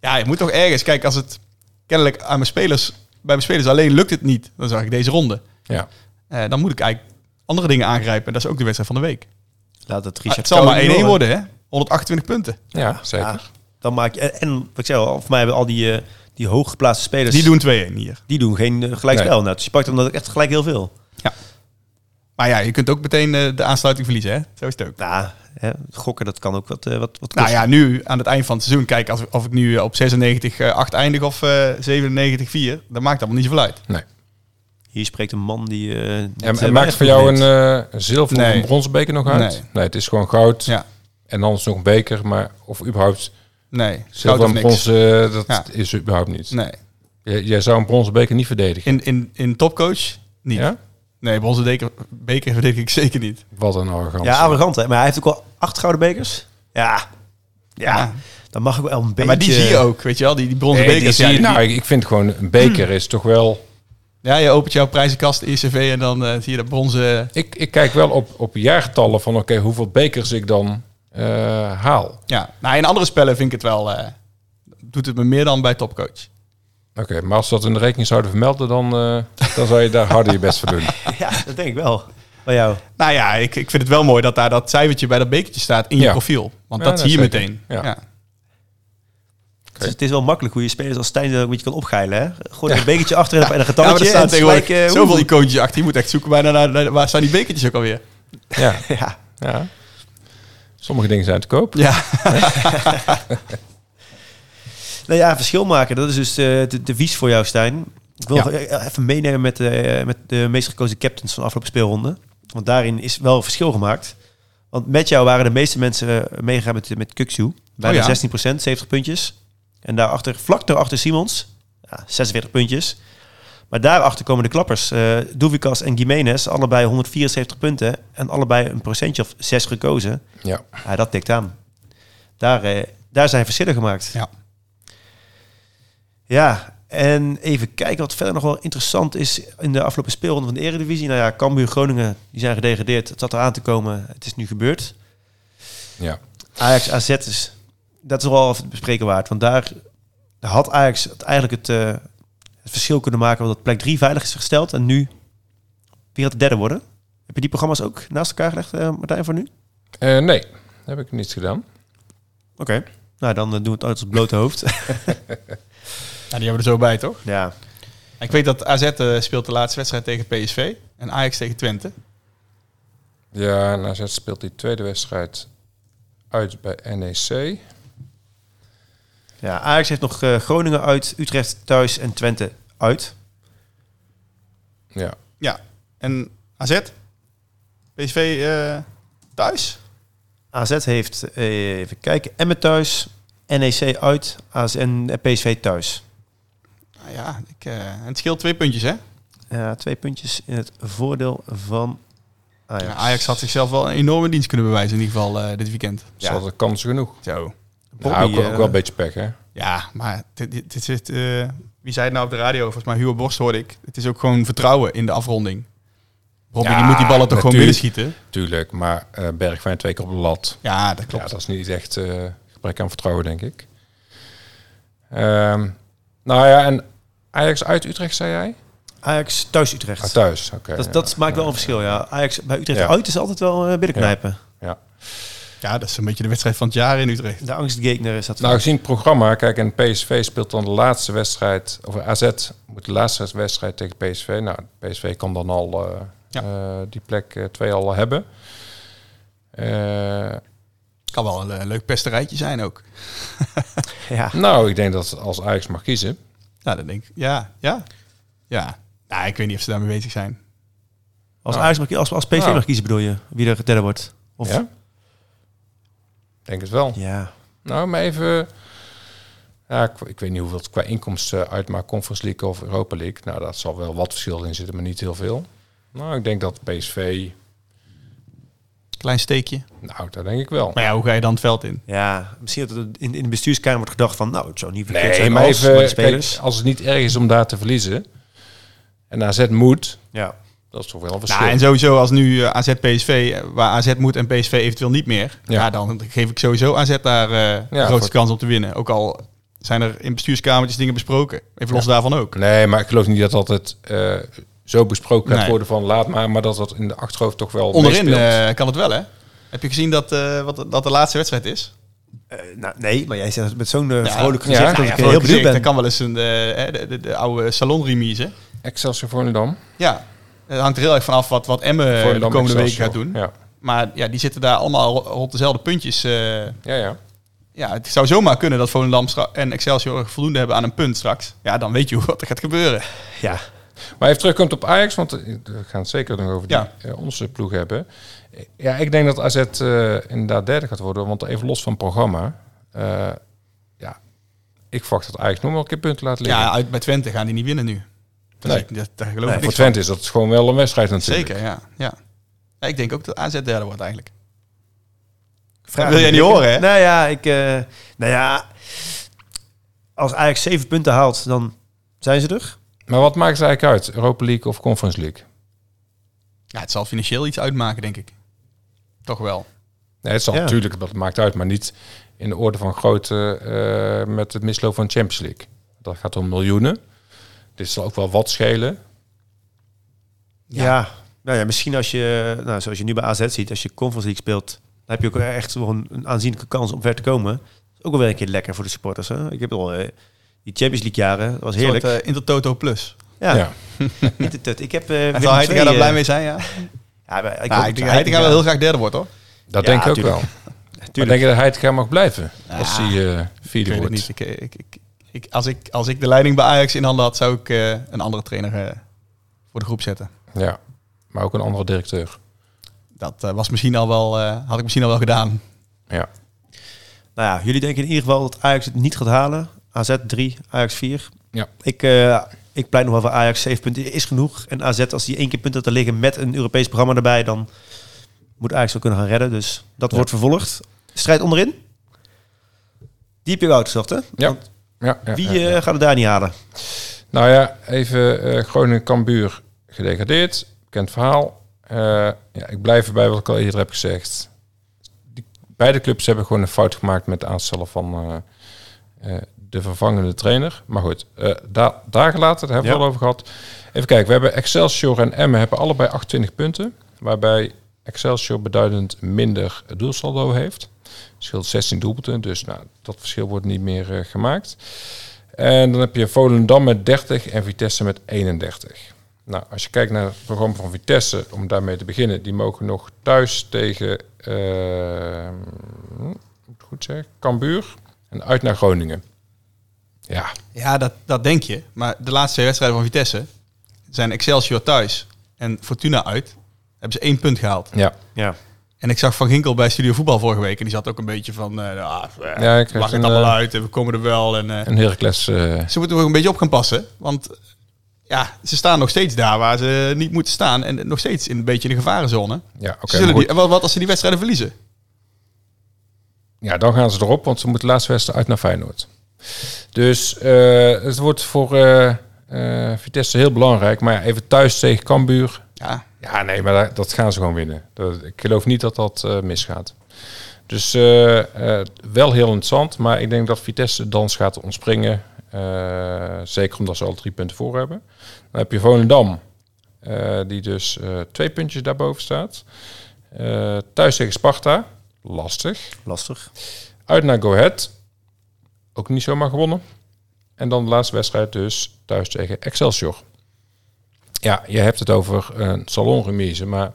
Speaker 3: Ja, je moet toch ergens... Kijk, als het kennelijk aan mijn spelers... Bij mijn spelers alleen lukt het niet. Dan zag ik deze ronde.
Speaker 2: Ja.
Speaker 3: Eh, dan moet ik eigenlijk andere dingen aangrijpen. En dat is ook de wedstrijd van de week.
Speaker 1: Laat het
Speaker 3: Ah,
Speaker 1: Richard
Speaker 3: het zal
Speaker 1: Koning
Speaker 3: maar 1-1 worden, hè? 128 punten.
Speaker 2: Ja, zeker.
Speaker 1: Dan maak je, en, en wat ik zei al, voor mij hebben al die, eh, die hooggeplaatste
Speaker 2: Dus-
Speaker 1: spelers...
Speaker 3: Die doen 2-1 hier.
Speaker 1: die doen geen eh, gelijkspel.
Speaker 2: Nee.
Speaker 1: Nou, dus je pakt hem dan ook echt gelijk heel veel.
Speaker 3: Maar ja, je kunt ook meteen eh, de aansluiting verliezen, hè? Zo is het ook.
Speaker 1: Nou, hè, gokken, dat kan ook wat, eh, wat, wat
Speaker 3: Nou
Speaker 1: kosten.
Speaker 3: ja, nu aan het eind van het seizoen, kijk, als, of ik nu eh, op 96, eh, 8 eindig of eh 97, 4, dat maakt allemaal niet zoveel uit.
Speaker 2: Nee.
Speaker 1: Hier spreekt een man die... eh, niet,
Speaker 2: En,
Speaker 1: eh,
Speaker 2: en maakt
Speaker 1: weinig
Speaker 2: voor jou een
Speaker 1: weet.
Speaker 2: eh, een zilver of
Speaker 3: Nee.
Speaker 2: een bronzen beker nog uit?
Speaker 3: Nee.
Speaker 2: Nee. het is gewoon goud.
Speaker 3: Ja,
Speaker 2: En anders nog een beker, maar of überhaupt
Speaker 3: nee. Goud
Speaker 2: zilver
Speaker 3: of
Speaker 2: en
Speaker 3: niks.
Speaker 2: bronzen, eh, dat
Speaker 3: Ja.
Speaker 2: is überhaupt niet.
Speaker 3: Nee.
Speaker 2: Jij, jij zou een bronzen beker niet verdedigen.
Speaker 3: In, in, in topcoach? Niet.
Speaker 2: Ja?
Speaker 3: Nee, bronzen beker, beker verdedig ik zeker niet.
Speaker 2: Wat een
Speaker 3: eh,
Speaker 2: arrogant.
Speaker 1: Ja, arrogant, hè. Maar hij heeft ook al acht gouden bekers. Ja. Ja, dan mag ik wel een beetje...
Speaker 3: Maar die zie je ook, weet je wel, die, die bronzen
Speaker 2: Nee,
Speaker 3: bekers.
Speaker 2: die zie je-
Speaker 3: ja, die-
Speaker 2: nou, ik, ik vind gewoon een
Speaker 3: Hmm.
Speaker 2: beker is toch wel.
Speaker 3: ja, je opent jouw prijzenkast, ECV en dan eh, zie je dat bronzen...
Speaker 2: Ik, ik kijk wel op, op jaartallen van oké, hoeveel bekers ik dan eh, haal.
Speaker 3: Ja, nou, in andere spellen vind ik het wel. eh, doet het me meer dan bij topcoach.
Speaker 2: Oké, maar als ze dat in de rekening zouden vermelden, dan, eh, dan zou je daar harder je best voor doen.
Speaker 1: Ja, dat denk ik wel. Bij jou.
Speaker 3: Nou ja, ik, ik vind het wel mooi dat daar dat cijfertje bij dat bekertje staat in je
Speaker 2: Ja.
Speaker 3: profiel. Want
Speaker 2: Ja,
Speaker 3: dat
Speaker 2: dat
Speaker 3: zie je
Speaker 2: zeker.
Speaker 3: meteen. Ja.
Speaker 2: Ja.
Speaker 1: Het is- het is wel makkelijk hoe je spelers als Stijn dat ook een beetje kan opgeilen. Hè? Gewoon een bekertje achterin en een
Speaker 3: Ja, Nou, maar
Speaker 1: getalletje.
Speaker 3: er
Speaker 1: en
Speaker 3: staan
Speaker 1: het is
Speaker 3: tegenwoordig
Speaker 1: gelijk, eh,
Speaker 3: zoveel
Speaker 1: oeh.
Speaker 3: icoontjes achter. Je moet echt zoeken bijna naar, naar- waar staan die bekertjes ook alweer.
Speaker 2: Ja,
Speaker 1: Ja.
Speaker 2: ja. Sommige dingen zijn te koop.
Speaker 3: Ja,
Speaker 1: Nou ja, verschil maken. Dat is dus eh, de devies voor jou, Stijn. Ik wil
Speaker 2: Ja.
Speaker 1: nog, eh, even meenemen met, eh, met de meest gekozen captains van de afgelopen speelronde. Want daarin is wel verschil gemaakt. Want met jou waren de meeste mensen eh, meegegaan met, met Kuksu. Bijna
Speaker 3: Oh ja.
Speaker 1: 16%, 70 puntjes. En daarachter, vlak daarachter Simons. Ja, 46 puntjes. Maar daarachter komen de klappers. eh Doevikas en Jiménez, allebei 174 punten. En allebei een procentje of 6 gekozen.
Speaker 2: Ja.
Speaker 1: Ja, dat tikt aan. Daar, eh, daar zijn verschillen gemaakt.
Speaker 3: Ja.
Speaker 1: Ja, en even kijken wat verder nog wel interessant is in de afgelopen speelronde van de Eredivisie. Nou ja, Cambuur, Groningen, die zijn gedegradeerd. Het zat eraan te komen. Het is nu gebeurd.
Speaker 2: ja.
Speaker 1: Ajax AZ is, dat is wel even bespreken waard. Want daar had Ajax het eigenlijk het, eh, het verschil kunnen maken. Omdat plek 3 veilig is gesteld. En nu weer het derde worden. Heb je die programma's ook naast elkaar gelegd, eh, Martijn, voor nu?
Speaker 2: Eh, nee, dat heb ik niet gedaan.
Speaker 1: Oké. Nou, dan eh, doen we het uit ons blote hoofd.
Speaker 3: die hebben we er zo bij, toch?
Speaker 1: ja.
Speaker 3: Ik weet dat AZ eh, speelt de laatste wedstrijd tegen PSV. En Ajax tegen Twente.
Speaker 2: Ja, en AZ speelt die tweede wedstrijd uit bij E NEC.
Speaker 1: ja, Ajax heeft nog eh, Groningen uit, Utrecht thuis en Twente uit.
Speaker 2: Ja.
Speaker 3: En AZ? PSV eh, thuis?
Speaker 1: AZ heeft, eh, even kijken, Emmen thuis, NEC uit AZ en eh, PSV thuis.
Speaker 3: Nou ja, ik, eh, het scheelt twee puntjes, hè?
Speaker 1: Ja, Eh, twee puntjes in het voordeel van Ajax.
Speaker 3: Ja, Ajax had zichzelf wel een enorme dienst kunnen bewijzen in ieder geval eh, dit weekend.
Speaker 2: Ze hadden kansen genoeg.
Speaker 3: Zo.
Speaker 1: Bobby,
Speaker 2: nou, ook,
Speaker 1: eh,
Speaker 2: ook wel een beetje pech, hè?
Speaker 3: Ja, maar dit, dit, dit zit, eh, wie zei het nou op de radio? Volgens mij Hugo Borst hoorde ik. Het is ook gewoon vertrouwen in de afronding. Robby,
Speaker 2: Ja,
Speaker 3: die moet die ballen toch gewoon
Speaker 2: natuurlijk.
Speaker 3: binnen schieten?
Speaker 2: Tuurlijk, maar eh, Bergwijn twee keer op de lat.
Speaker 3: Ja, dat
Speaker 2: Ja,
Speaker 3: klopt.
Speaker 2: dat is niet echt eh, gebrek aan vertrouwen, denk ik. Ehm, nou ja, en Ajax uit Utrecht, zei jij?
Speaker 1: Ajax thuis Utrecht.
Speaker 2: Ah, thuis, oké.
Speaker 1: dat
Speaker 2: ja.
Speaker 1: dat maakt wel een verschil, ja. Ajax bij Utrecht
Speaker 2: Ja.
Speaker 1: uit is altijd wel eh, binnenknijpen.
Speaker 3: Ja, dat is een beetje de wedstrijd van het jaar in Utrecht.
Speaker 1: De angstgegner is dat.
Speaker 2: Nou, gezien het programma, kijk, en PSV speelt dan de laatste wedstrijd, of AZ moet de laatste wedstrijd tegen PSV. Nou, PSV kan dan al eh,
Speaker 3: Ja.
Speaker 2: eh, die plek eh, twee al hebben. Eh,
Speaker 3: Kan wel een eh, leuk pesterijtje zijn ook.
Speaker 1: ja.
Speaker 2: nou, ik denk dat als Ajax mag kiezen.
Speaker 3: Nou, dan denk ik, ja, ja, ja. Nou, ik weet niet of ze daarmee bezig zijn.
Speaker 1: Als,
Speaker 2: Nou.
Speaker 1: Ajax mag, als, als PSV
Speaker 2: Nou.
Speaker 1: mag kiezen bedoel je wie er derde wordt? Of,
Speaker 2: Ja? Denk het wel.
Speaker 1: Ja.
Speaker 2: Nou, maar even. Ja, ik, ik weet niet hoeveel het qua inkomsten uitmaakt, Conference League of Europa League. Nou, daar zal wel wat verschil in zitten, maar niet heel veel. Nou, ik denk dat PSV.
Speaker 3: Klein steekje.
Speaker 2: Nou, dat denk ik wel.
Speaker 3: Maar ja, hoe ga je dan het veld in?
Speaker 1: Ja, misschien dat er in, in de bestuurskamer wordt gedacht van, nou, het zou niet verkeerd
Speaker 2: Nee,
Speaker 1: zijn
Speaker 2: maar
Speaker 1: als
Speaker 2: even.
Speaker 1: maar de
Speaker 2: kijk,
Speaker 1: spelers.
Speaker 2: als het niet erg is om daar te verliezen. En AZ moet.
Speaker 1: ja.
Speaker 2: Dat is toch wel een verschil.
Speaker 3: Nou, en sowieso als nu eh, AZ PSV, eh, waar AZ moet en PSV eventueel niet meer. Ja,
Speaker 2: Ja.
Speaker 3: dan geef ik sowieso AZ daar eh, de grootste
Speaker 2: voor-
Speaker 3: kans om te winnen. Ook al zijn er in bestuurskamertjes dingen besproken. Even los daarvan ook.
Speaker 2: Nee, maar ik geloof niet dat dat het eh, zo besproken gaat
Speaker 3: Nee.
Speaker 2: worden van laat maar. Maar dat dat in de achterhoofd toch wel.
Speaker 3: Onderin
Speaker 2: meespeelt.
Speaker 3: eh, kan het wel, hè? Heb je gezien dat, eh, wat, dat de laatste wedstrijd is?
Speaker 1: Eh, nou, nee, maar jij zegt het met zo'n eh,
Speaker 3: Ja,
Speaker 1: vrolijk
Speaker 2: ja.
Speaker 1: gezicht dat
Speaker 2: Nou
Speaker 1: ik
Speaker 2: ja,
Speaker 1: eh, heel benieuwd ben.
Speaker 3: Dat kan wel eens een, eh, eh, de, de, de oude salonremise.
Speaker 2: Excelsior Volendam.
Speaker 3: Ja, het hangt er heel erg van af wat, wat Emmen eh, de
Speaker 2: Volendam,
Speaker 3: komende weken
Speaker 2: Excelsior.
Speaker 3: gaat doen.
Speaker 2: Ja,
Speaker 3: Maar ja, die zitten daar allemaal ro- rond dezelfde puntjes. eh.
Speaker 2: ja. ja.
Speaker 3: ja, het zou zomaar kunnen dat Volendam stra- en Excelsior voldoende hebben aan een punt straks. Ja, dan weet je hoe- wat er gaat gebeuren.
Speaker 1: Ja.
Speaker 2: Maar even terugkomt op Ajax, want eh, we gaan het zeker nog over die,
Speaker 3: Ja.
Speaker 2: eh, onze ploeg hebben. Eh, Ja, ik denk dat AZ eh, inderdaad derde gaat worden, want even los van het programma. eh, ja, ik verwacht dat Ajax nog wel een keer punten laat liggen.
Speaker 3: Ja, uit bij Twente gaan die niet winnen nu. Dat
Speaker 2: Nee.
Speaker 3: is- dat, daar geloof
Speaker 1: Nee,
Speaker 3: ik
Speaker 2: Voor
Speaker 3: niks
Speaker 2: Twente is dat gewoon wel een wedstrijd
Speaker 3: van.
Speaker 2: natuurlijk.
Speaker 3: Zeker, ja. ja. Ja, Ik denk ook dat AZ derde wordt eigenlijk.
Speaker 1: Vraag
Speaker 3: wil jij niet
Speaker 1: ik-
Speaker 3: horen, hè?
Speaker 1: Nou ja, ik, eh, nou ja, als Ajax zeven punten haalt, dan zijn ze er.
Speaker 2: Maar wat maakt het eigenlijk uit? Europa League of Conference League?
Speaker 3: Ja, het zal financieel iets uitmaken, denk ik. Toch wel.
Speaker 2: Nee, het zal
Speaker 1: Ja.
Speaker 2: natuurlijk, dat maakt uit, maar niet in de orde van grootte eh, met het misloop van Champions League. Dat gaat om miljoenen. Dit zal ook wel wat schelen.
Speaker 1: Ja. Nou ja, misschien als je, nou, zoals je nu bij AZ ziet, als je Conference League speelt, dan heb je ook echt nog een, een aanzienlijke kans om ver te komen. Dat is ook wel weer een keer lekker voor de supporters. Hè? Ik heb al eh, die Champions League jaren, dat was
Speaker 3: Een
Speaker 1: heerlijk.
Speaker 3: soort eh, Intertoto Plus.
Speaker 1: ja,
Speaker 2: ja.
Speaker 1: Intertut. Ik heb eh Willem
Speaker 3: En zal
Speaker 1: II,
Speaker 3: Heitinga daar
Speaker 1: eh,
Speaker 3: blij mee zijn,
Speaker 1: Ja,
Speaker 3: ja?
Speaker 1: maar ik
Speaker 3: Nou,
Speaker 1: hoop
Speaker 3: ik
Speaker 1: dat
Speaker 3: denk dat Heitinga wel heel graag derde wordt, hoor.
Speaker 2: Dat
Speaker 1: Ja,
Speaker 2: denk ik ook
Speaker 1: tuurlijk.
Speaker 2: wel. Maar denk je dat hij het gaan mag blijven? Als hij eh,
Speaker 3: Ik
Speaker 2: vierde
Speaker 3: weet
Speaker 2: wordt.
Speaker 3: het niet. Ik, eh, ik, ik, ik- als, ik, als ik de leiding bij Ajax in handen had, zou ik eh, een andere trainer eh, voor de groep zetten.
Speaker 2: Ja, maar ook een andere directeur.
Speaker 3: Dat eh, was misschien al wel, eh, had ik misschien al wel gedaan.
Speaker 2: Ja.
Speaker 1: Nou ja, jullie denken in ieder geval dat Ajax het niet gaat halen. AZ 3, Ajax 4.
Speaker 2: Ja.
Speaker 1: Ik, eh, ik pleit nog wel voor Ajax. 7 punten is genoeg. En AZ, als die één keer punten te liggen met een Europees programma erbij, dan moet Ajax wel kunnen gaan redden. Dus dat
Speaker 2: Ja.
Speaker 1: wordt vervolgd. Strijd onderin. Die heb je ook uitgezocht, hè?
Speaker 2: Ja. Ja, ja,
Speaker 1: Wie
Speaker 2: ja, ja.
Speaker 1: eh, gaat het daar niet halen?
Speaker 2: Nou ja, even eh Groningen-Kambuur gedegradeerd. Bekend verhaal. Eh, ja, ik blijf erbij wat ik al eerder heb gezegd. Die, beide clubs hebben gewoon een fout gemaakt met het aanstellen van eh, eh, de vervangende trainer. Maar goed, eh da daar gelaten, daar hebben we
Speaker 1: Ja.
Speaker 2: het al over gehad. Even kijken, we hebben Excelsior en Emmen hebben allebei 28 punten. Waarbij Excelsior beduidend minder doelsaldo heeft. Scheelt 16 doelpunten, dus nou, dat verschil wordt niet meer eh, gemaakt. En dan heb je Volendam met 30 en Vitesse met 31. Nou, als je kijkt naar het programma van Vitesse, om daarmee te beginnen, die mogen nog thuis tegen, eh, moet ik het goed zeggen, Cambuur en uit naar Groningen. Ja,
Speaker 3: Ja, dat, dat denk je. Maar de laatste twee wedstrijden van Vitesse zijn Excelsior thuis en Fortuna uit. Hebben ze één punt gehaald.
Speaker 2: ja.
Speaker 1: Ja.
Speaker 3: En ik zag Van Ginkel bij Studio Voetbal vorige week. En die zat ook een beetje van, eh ah, eh,
Speaker 2: Ja, ik
Speaker 3: mag
Speaker 2: kreeg
Speaker 3: het
Speaker 2: een,
Speaker 3: allemaal
Speaker 2: eh,
Speaker 3: uit en we komen er wel. En, eh,
Speaker 2: En Heracles, eh,
Speaker 3: ze moeten er ook een beetje op gaan passen. Want ja, ze staan nog steeds daar waar ze niet moeten staan. En nog steeds in een beetje in de gevarenzone.
Speaker 2: ja, oké.
Speaker 3: Ze zullen
Speaker 2: maar goed.
Speaker 3: die, en wat, wat als ze die wedstrijden verliezen?
Speaker 2: Ja, dan gaan ze erop, want ze moeten de laatste wedstrijd uit naar Feyenoord. Dus eh, het wordt voor eh, eh, Vitesse heel belangrijk. Maar ja, even thuis tegen Cambuur,
Speaker 3: Ja,
Speaker 2: Ja, nee, maar dat, dat gaan ze gewoon winnen. Dat- ik geloof niet dat dat eh, misgaat. Dus eh, eh, wel heel interessant, maar ik denk dat Vitesse de dans gaat ontspringen. Eh, zeker omdat ze al drie punten voor hebben. Dan heb je Volendam, eh, die dus eh, twee puntjes daarboven staat. Eh, thuis tegen Sparta, lastig.
Speaker 1: Lastig.
Speaker 2: Uit naar Go Ahead, ook niet zomaar gewonnen. En dan de laatste wedstrijd dus thuis tegen Excelsior. Ja, je hebt het over een salonremise, maar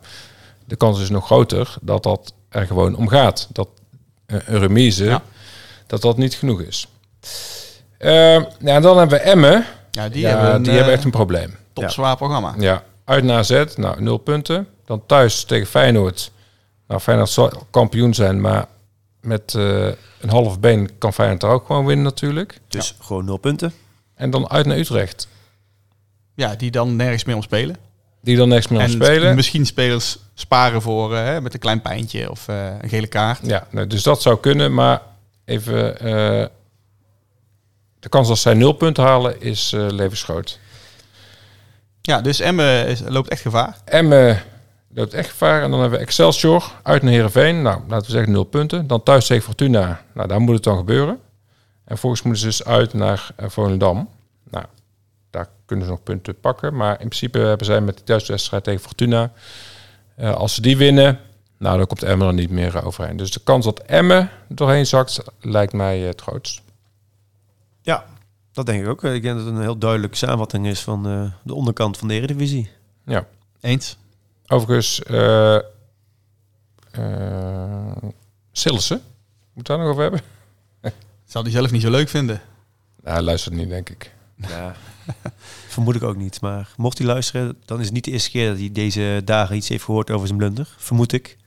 Speaker 2: de kans is nog groter dat dat er gewoon om gaat. Dat eh, een remise,
Speaker 3: Ja.
Speaker 2: dat dat niet genoeg is. Eh, nou, dan hebben we Emmen.
Speaker 3: Ja, die
Speaker 2: Die, ja,
Speaker 3: hebben,
Speaker 2: hebben,
Speaker 3: een,
Speaker 2: die
Speaker 3: eh,
Speaker 2: hebben echt een probleem.
Speaker 3: topzwaar programma.
Speaker 2: Ja, uit naar Z, nou, nul punten. Dan thuis tegen Feyenoord. Nou, Feyenoord zal kampioen zijn, maar met eh, een half been kan Feyenoord er ook gewoon winnen natuurlijk.
Speaker 1: Dus gewoon nul punten.
Speaker 2: En dan uit naar Utrecht,
Speaker 3: Ja, die dan nergens meer om spelen.
Speaker 2: die dan niks meer aan
Speaker 3: en
Speaker 2: spelen.
Speaker 3: misschien spelers sparen voor eh, hè, met een klein pijntje of eh, een gele kaart.
Speaker 2: Ja, nou, dus dat zou kunnen, maar even... eh, de kans dat zij nul punten halen is eh levensgroot.
Speaker 3: Ja, dus Emmen is- loopt echt gevaar.
Speaker 2: Emmen loopt echt gevaar. En dan hebben we Excelsior uit naar Heerenveen. Nou, laten we zeggen nul punten. Dan thuis tegen Fortuna. Nou, daar moet het dan gebeuren. En volgens moeten ze dus uit naar eh, Volendam. Nou, daar kunnen ze nog punten pakken. Maar in principe hebben zij met die thuiswedstrijd tegen Fortuna... eh, als ze die winnen, nou, dan komt Emmen er niet meer eh, overheen. Dus de kans dat Emmen doorheen zakt, lijkt mij eh, het grootst.
Speaker 1: Ja, dat denk ik ook. Ik denk dat het een heel duidelijke samenvatting is van eh, de onderkant van de Eredivisie.
Speaker 2: Ja.
Speaker 3: Eens.
Speaker 2: Overigens, eh eh, Sillissen, moet daar nog over hebben?
Speaker 3: Zal die zelf niet zo leuk vinden.
Speaker 2: Nou, hij luistert niet, denk ik.
Speaker 1: Ja. Vermoed ik ook niet. Maar mocht hij luisteren, dan is het niet de eerste keer dat hij deze dagen iets heeft gehoord over zijn blunder. Vermoed ik.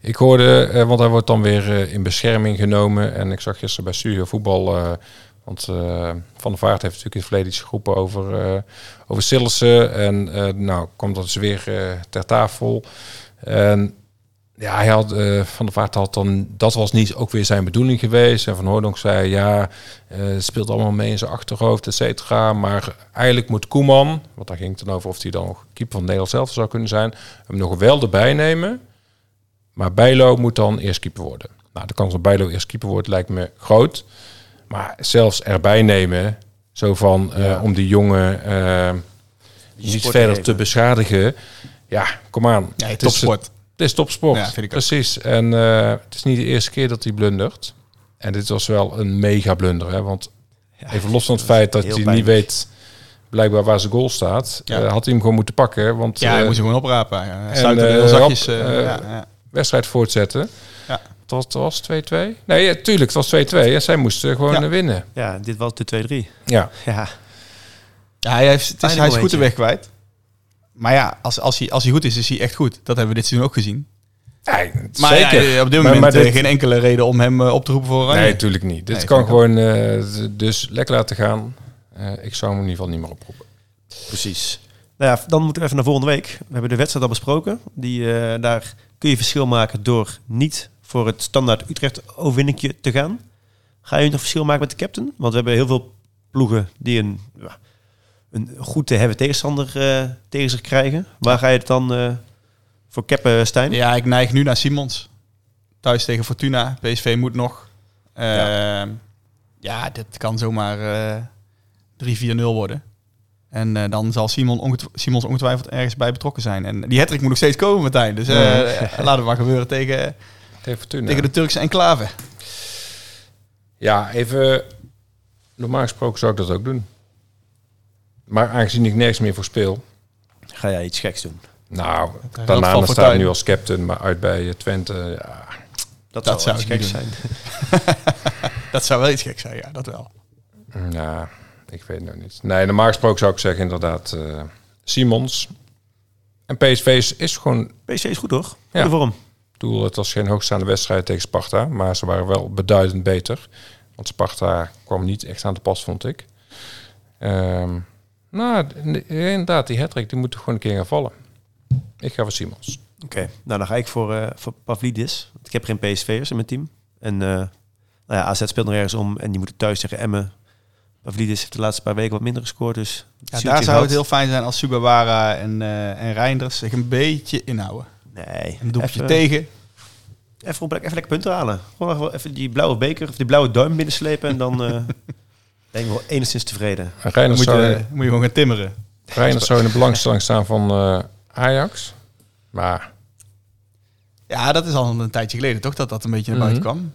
Speaker 2: Ik hoorde, eh, want hij wordt dan weer eh, in bescherming genomen. En ik zag gisteren bij Studio Voetbal, eh, want eh, Van der Vaart heeft natuurlijk in het verleden iets geroepen over, eh over Sillissen. En eh, nou, komt dat dus weer eh, ter tafel. En ja, hij had, eh, Van der Vaart had dan, dat was niet ook weer zijn bedoeling geweest. En Van Hoordonk zei, ja, eh, het speelt allemaal mee in zijn achterhoofd, et cetera. Maar eigenlijk moet Koeman, want daar ging het dan over of hij dan nog keeper van Nederland zelf zou kunnen zijn, hem nog wel erbij nemen. Maar Bijlo moet dan eerst keeper worden. Nou, de kans dat Bijlo eerst keeper wordt lijkt me groot. Maar zelfs erbij nemen, zo van eh, om die jongen eh, niet
Speaker 1: sport
Speaker 2: verder
Speaker 1: te
Speaker 2: te beschadigen. Ja, kom aan.
Speaker 3: Ja,
Speaker 2: Het is-
Speaker 3: topsport.
Speaker 2: het is topsport.
Speaker 3: Ja, vind ik ook.
Speaker 2: Precies. En eh, het is niet de eerste keer dat hij blundert. En dit was wel een mega blunder. Hè? Want even los van het feit dat
Speaker 1: heel
Speaker 2: hij niet
Speaker 1: pijnlijk.
Speaker 2: weet blijkbaar waar zijn goal staat,
Speaker 3: Ja.
Speaker 2: eh, had hij hem gewoon moeten pakken. Want
Speaker 3: Ja, hij
Speaker 2: eh,
Speaker 3: moest je gewoon oprapen. Ja.
Speaker 2: en,
Speaker 3: Sluiten heel
Speaker 2: eh,
Speaker 3: zachtjes.
Speaker 2: rap,
Speaker 3: eh,
Speaker 2: eh,
Speaker 3: ja, ja.
Speaker 2: wedstrijd voortzetten.
Speaker 3: Ja.
Speaker 2: Dat was 2-2. Nee, ja, tuurlijk, het was 2-2. En zij moesten gewoon
Speaker 3: Ja.
Speaker 2: eh, winnen.
Speaker 1: Ja, dit was de 2-3.
Speaker 2: Ja.
Speaker 1: Ja,
Speaker 3: Ja, hij, heeft, het is,
Speaker 1: Fijn
Speaker 3: hij is goed de
Speaker 1: momentje.
Speaker 3: weg kwijt. Maar ja, als, als, hij, als hij goed is, is hij echt goed. Dat hebben we dit seizoen ook gezien.
Speaker 2: Nee,
Speaker 3: Maar
Speaker 2: zeker.
Speaker 3: ja, op dit
Speaker 2: Maar-
Speaker 3: moment
Speaker 2: maar
Speaker 3: eh,
Speaker 2: dit-
Speaker 3: geen enkele reden om hem eh, op te roepen voor Oranje.
Speaker 2: Nee, natuurlijk niet. Dit
Speaker 3: Nee,
Speaker 2: kan
Speaker 3: vind ik ook.
Speaker 2: gewoon eh, d- dus lekker laten gaan. Eh, ik zou hem in ieder geval niet meer oproepen.
Speaker 1: precies. Nou ja, dan moeten we even naar volgende week. We hebben de wedstrijd al besproken. Die, eh, daar kun je verschil maken door niet voor het standaard Utrecht overwinningje te gaan. Ga je nog verschil maken met de captain? Want we hebben heel veel ploegen die een, ja, een goed te hebben tegenstander eh, tegen zich krijgen. Waar ga je het dan eh, voor cappen, Stijn?
Speaker 3: Ja, ik neig nu naar Simons. Thuis tegen Fortuna. PSV moet nog. Eh, ja. dit kan zomaar eh 3-4-0 worden. En eh, dan zal Simon ongetw- Simons ongetwijfeld ergens bij betrokken zijn. En die hattrick moet nog steeds komen, Martijn. Dus eh, laten we maar gebeuren tegen,
Speaker 2: Tegen Fortuna.
Speaker 3: tegen de Turkse enclave.
Speaker 2: Ja, even. Normaal gesproken zou ik dat ook doen. Maar aangezien ik nergens meer voor speel.
Speaker 1: Ga jij iets geks doen?
Speaker 2: Nou,
Speaker 3: helpt
Speaker 2: daarna
Speaker 3: Van
Speaker 2: staat
Speaker 3: Fortuyn.
Speaker 2: nu als captain, maar uit bij eh, Twente. Ja,
Speaker 1: Dat,
Speaker 3: Dat
Speaker 1: zou
Speaker 3: zou
Speaker 1: iets
Speaker 3: ik niet
Speaker 1: geks
Speaker 3: doen.
Speaker 1: zijn.
Speaker 3: Dat zou wel iets gek zijn, ja, dat wel.
Speaker 2: ja, ik weet het nog niet. Nee, normaal gesproken zou ik zeggen inderdaad eh, Simons. En PSV is, is gewoon
Speaker 1: PSV is goed, toch?
Speaker 2: Ja.
Speaker 1: Goede vorm.
Speaker 2: Ik bedoel, het was geen hoogstaande wedstrijd tegen Sparta, maar ze waren wel beduidend beter. Want Sparta kwam niet echt aan de pas, vond ik. Ehm, nou, d- inderdaad, die hattrick die moet toch gewoon een keer gaan vallen. Ik ga voor Simons.
Speaker 1: Oké, nou dan ga ik voor, eh, voor Pavlidis. Want ik heb geen PSV'ers in mijn team. En eh, nou ja, AZ speelt nog ergens om en die moeten thuis tegen Emmen. Pavlidis heeft de laatste paar weken wat minder gescoord. Dus
Speaker 3: Ja,
Speaker 1: zuurtje
Speaker 3: daar zou
Speaker 1: gehad.
Speaker 3: het heel fijn zijn als Sugawara en, eh, en Reinders zich een beetje inhouden.
Speaker 1: Nee,
Speaker 3: Een doelpuntje
Speaker 1: even-
Speaker 3: tegen.
Speaker 1: Even, op- even lekker punten halen. Gewoon even, even die blauwe beker of die blauwe duim binnenslepen en dan eh denk ik wel enigszins tevreden.
Speaker 3: Dan
Speaker 2: Reiners
Speaker 3: moet je,
Speaker 2: zou,
Speaker 3: moet je gewoon gaan timmeren.
Speaker 2: Reiners zou in de belangstelling staan van eh, Ajax. Maar
Speaker 3: Ja, dat is al een tijdje geleden toch dat dat een beetje naar buiten
Speaker 2: Mhm.
Speaker 3: kwam.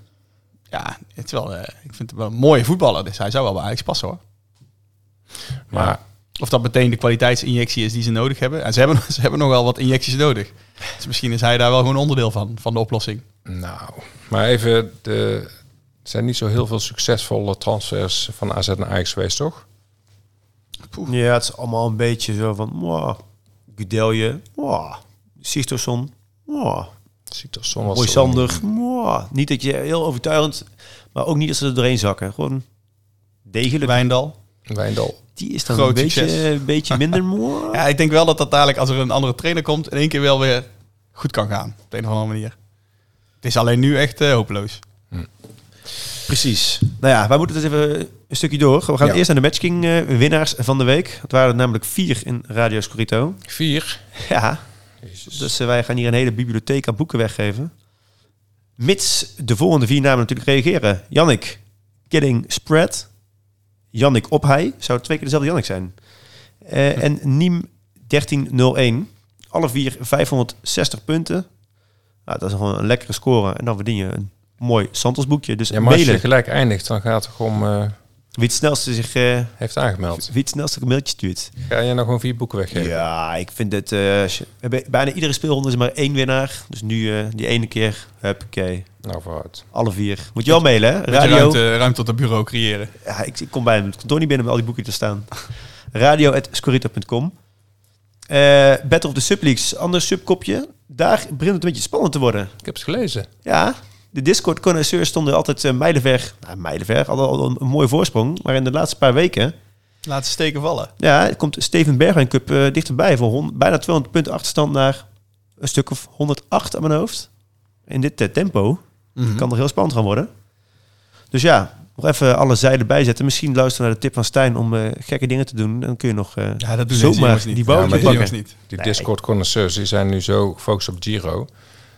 Speaker 3: Ja, het is wel, eh, ik vind het wel een mooie voetballer. Dus hij zou wel bij Ajax passen hoor.
Speaker 2: Maar
Speaker 3: Of dat meteen de kwaliteitsinjectie is die ze nodig hebben. En ze hebben, ze hebben nog wel wat injecties nodig. Dus misschien is hij daar wel gewoon onderdeel van, van de oplossing.
Speaker 2: Nou, maar even, de, er zijn niet zo heel veel succesvolle transfers van AZ naar Ajax geweest, toch?
Speaker 1: Ja, het is allemaal een beetje zo van... Mwah, Gudelje, mwah, Sisterson, mwah,
Speaker 2: Sietersson was er ook
Speaker 1: Moisander. Mwah. Niet dat je heel overtuigend, maar ook niet dat ze er doorheen zakken. Gewoon degelijk.
Speaker 3: Wijndal.
Speaker 2: niet. Wijndal.
Speaker 1: Die is dan
Speaker 3: Groot
Speaker 1: een beetje,
Speaker 3: succes.
Speaker 1: een beetje minder mooi.
Speaker 3: Ja, ik denk wel dat dat dadelijk als er een andere trainer komt... in één keer wel weer goed kan gaan. Op de een of andere manier. Het is alleen nu echt eh, hopeloos.
Speaker 1: Precies. Nou ja, wij moeten dus even een stukje door. We gaan
Speaker 2: Ja.
Speaker 1: eerst naar de matchking eh, winnaars van de week. Het waren er namelijk vier in Radio Scorito.
Speaker 2: Vier.
Speaker 1: Ja,
Speaker 2: Jezus.
Speaker 1: dus eh, wij gaan hier een hele bibliotheek aan boeken weggeven. Mits de volgende vier namen natuurlijk reageren. Jannik, Kidding Spread. Jannik Ophij. Zou twee keer dezelfde Jannik zijn. Eh, En Niem 1301. Alle vier 560 punten. Nou, dat is gewoon een lekkere score. En dan verdien je een mooi Santos boekje. Dus
Speaker 2: Ja, maar als je
Speaker 1: mailen.
Speaker 2: gelijk eindigt, dan gaat het gewoon, eh,
Speaker 1: Wie het snelste zich eh,
Speaker 2: heeft aangemeld.
Speaker 1: wie het snelste een mailtje stuurt.
Speaker 2: Ga je nou gewoon vier boeken weggeven?
Speaker 1: Ja, ik eh, vind het. eh, als je- we hebben- bijna iedere speelronde is er maar één winnaar. Dus nu eh, die ene keer. Huppakee.
Speaker 2: Nou, vooruit.
Speaker 1: Alle vier. Moet je wel mailen, hè?
Speaker 3: Radio.
Speaker 1: Radio.
Speaker 3: Ruimte, ruimte op het bureau creëren.
Speaker 1: Ja, ik, ik kom bij hem. Het kantoor niet binnen met al die boeken te staan. Radio.scorito.com. Eh Battle of the Subleagues. Ander subkopje. Daar begint het een beetje spannend te worden.
Speaker 2: Ik heb het gelezen.
Speaker 1: Ja, de Discord-connoisseurs stonden altijd eh, mijlenver. Nou, mijlenver. Hadden al een, een mooie voorsprong. Maar in de laatste paar weken
Speaker 3: Laat ze steken vallen.
Speaker 1: Ja, het komt Steven Bergwijn Cup eh, dichterbij. Van hon- bijna 200 punten achterstand naar een stuk of 108 aan mijn hoofd. In dit eh, tempo
Speaker 3: Mhm.
Speaker 1: kan er heel spannend gaan worden. Dus ja, nog even alle zijden bijzetten. Misschien luisteren naar de tip van Stijn om eh, gekke dingen te doen. Dan kun je nog eh,
Speaker 3: Ja, dat doen deze
Speaker 1: zomaar
Speaker 3: jongens niet.
Speaker 1: die
Speaker 3: Ja,
Speaker 1: bal
Speaker 3: maar deze
Speaker 1: pakken.
Speaker 3: jongens niet.
Speaker 2: Die
Speaker 1: Nee.
Speaker 2: Discord-connoisseurs die zijn nu zo gefocust op Giro.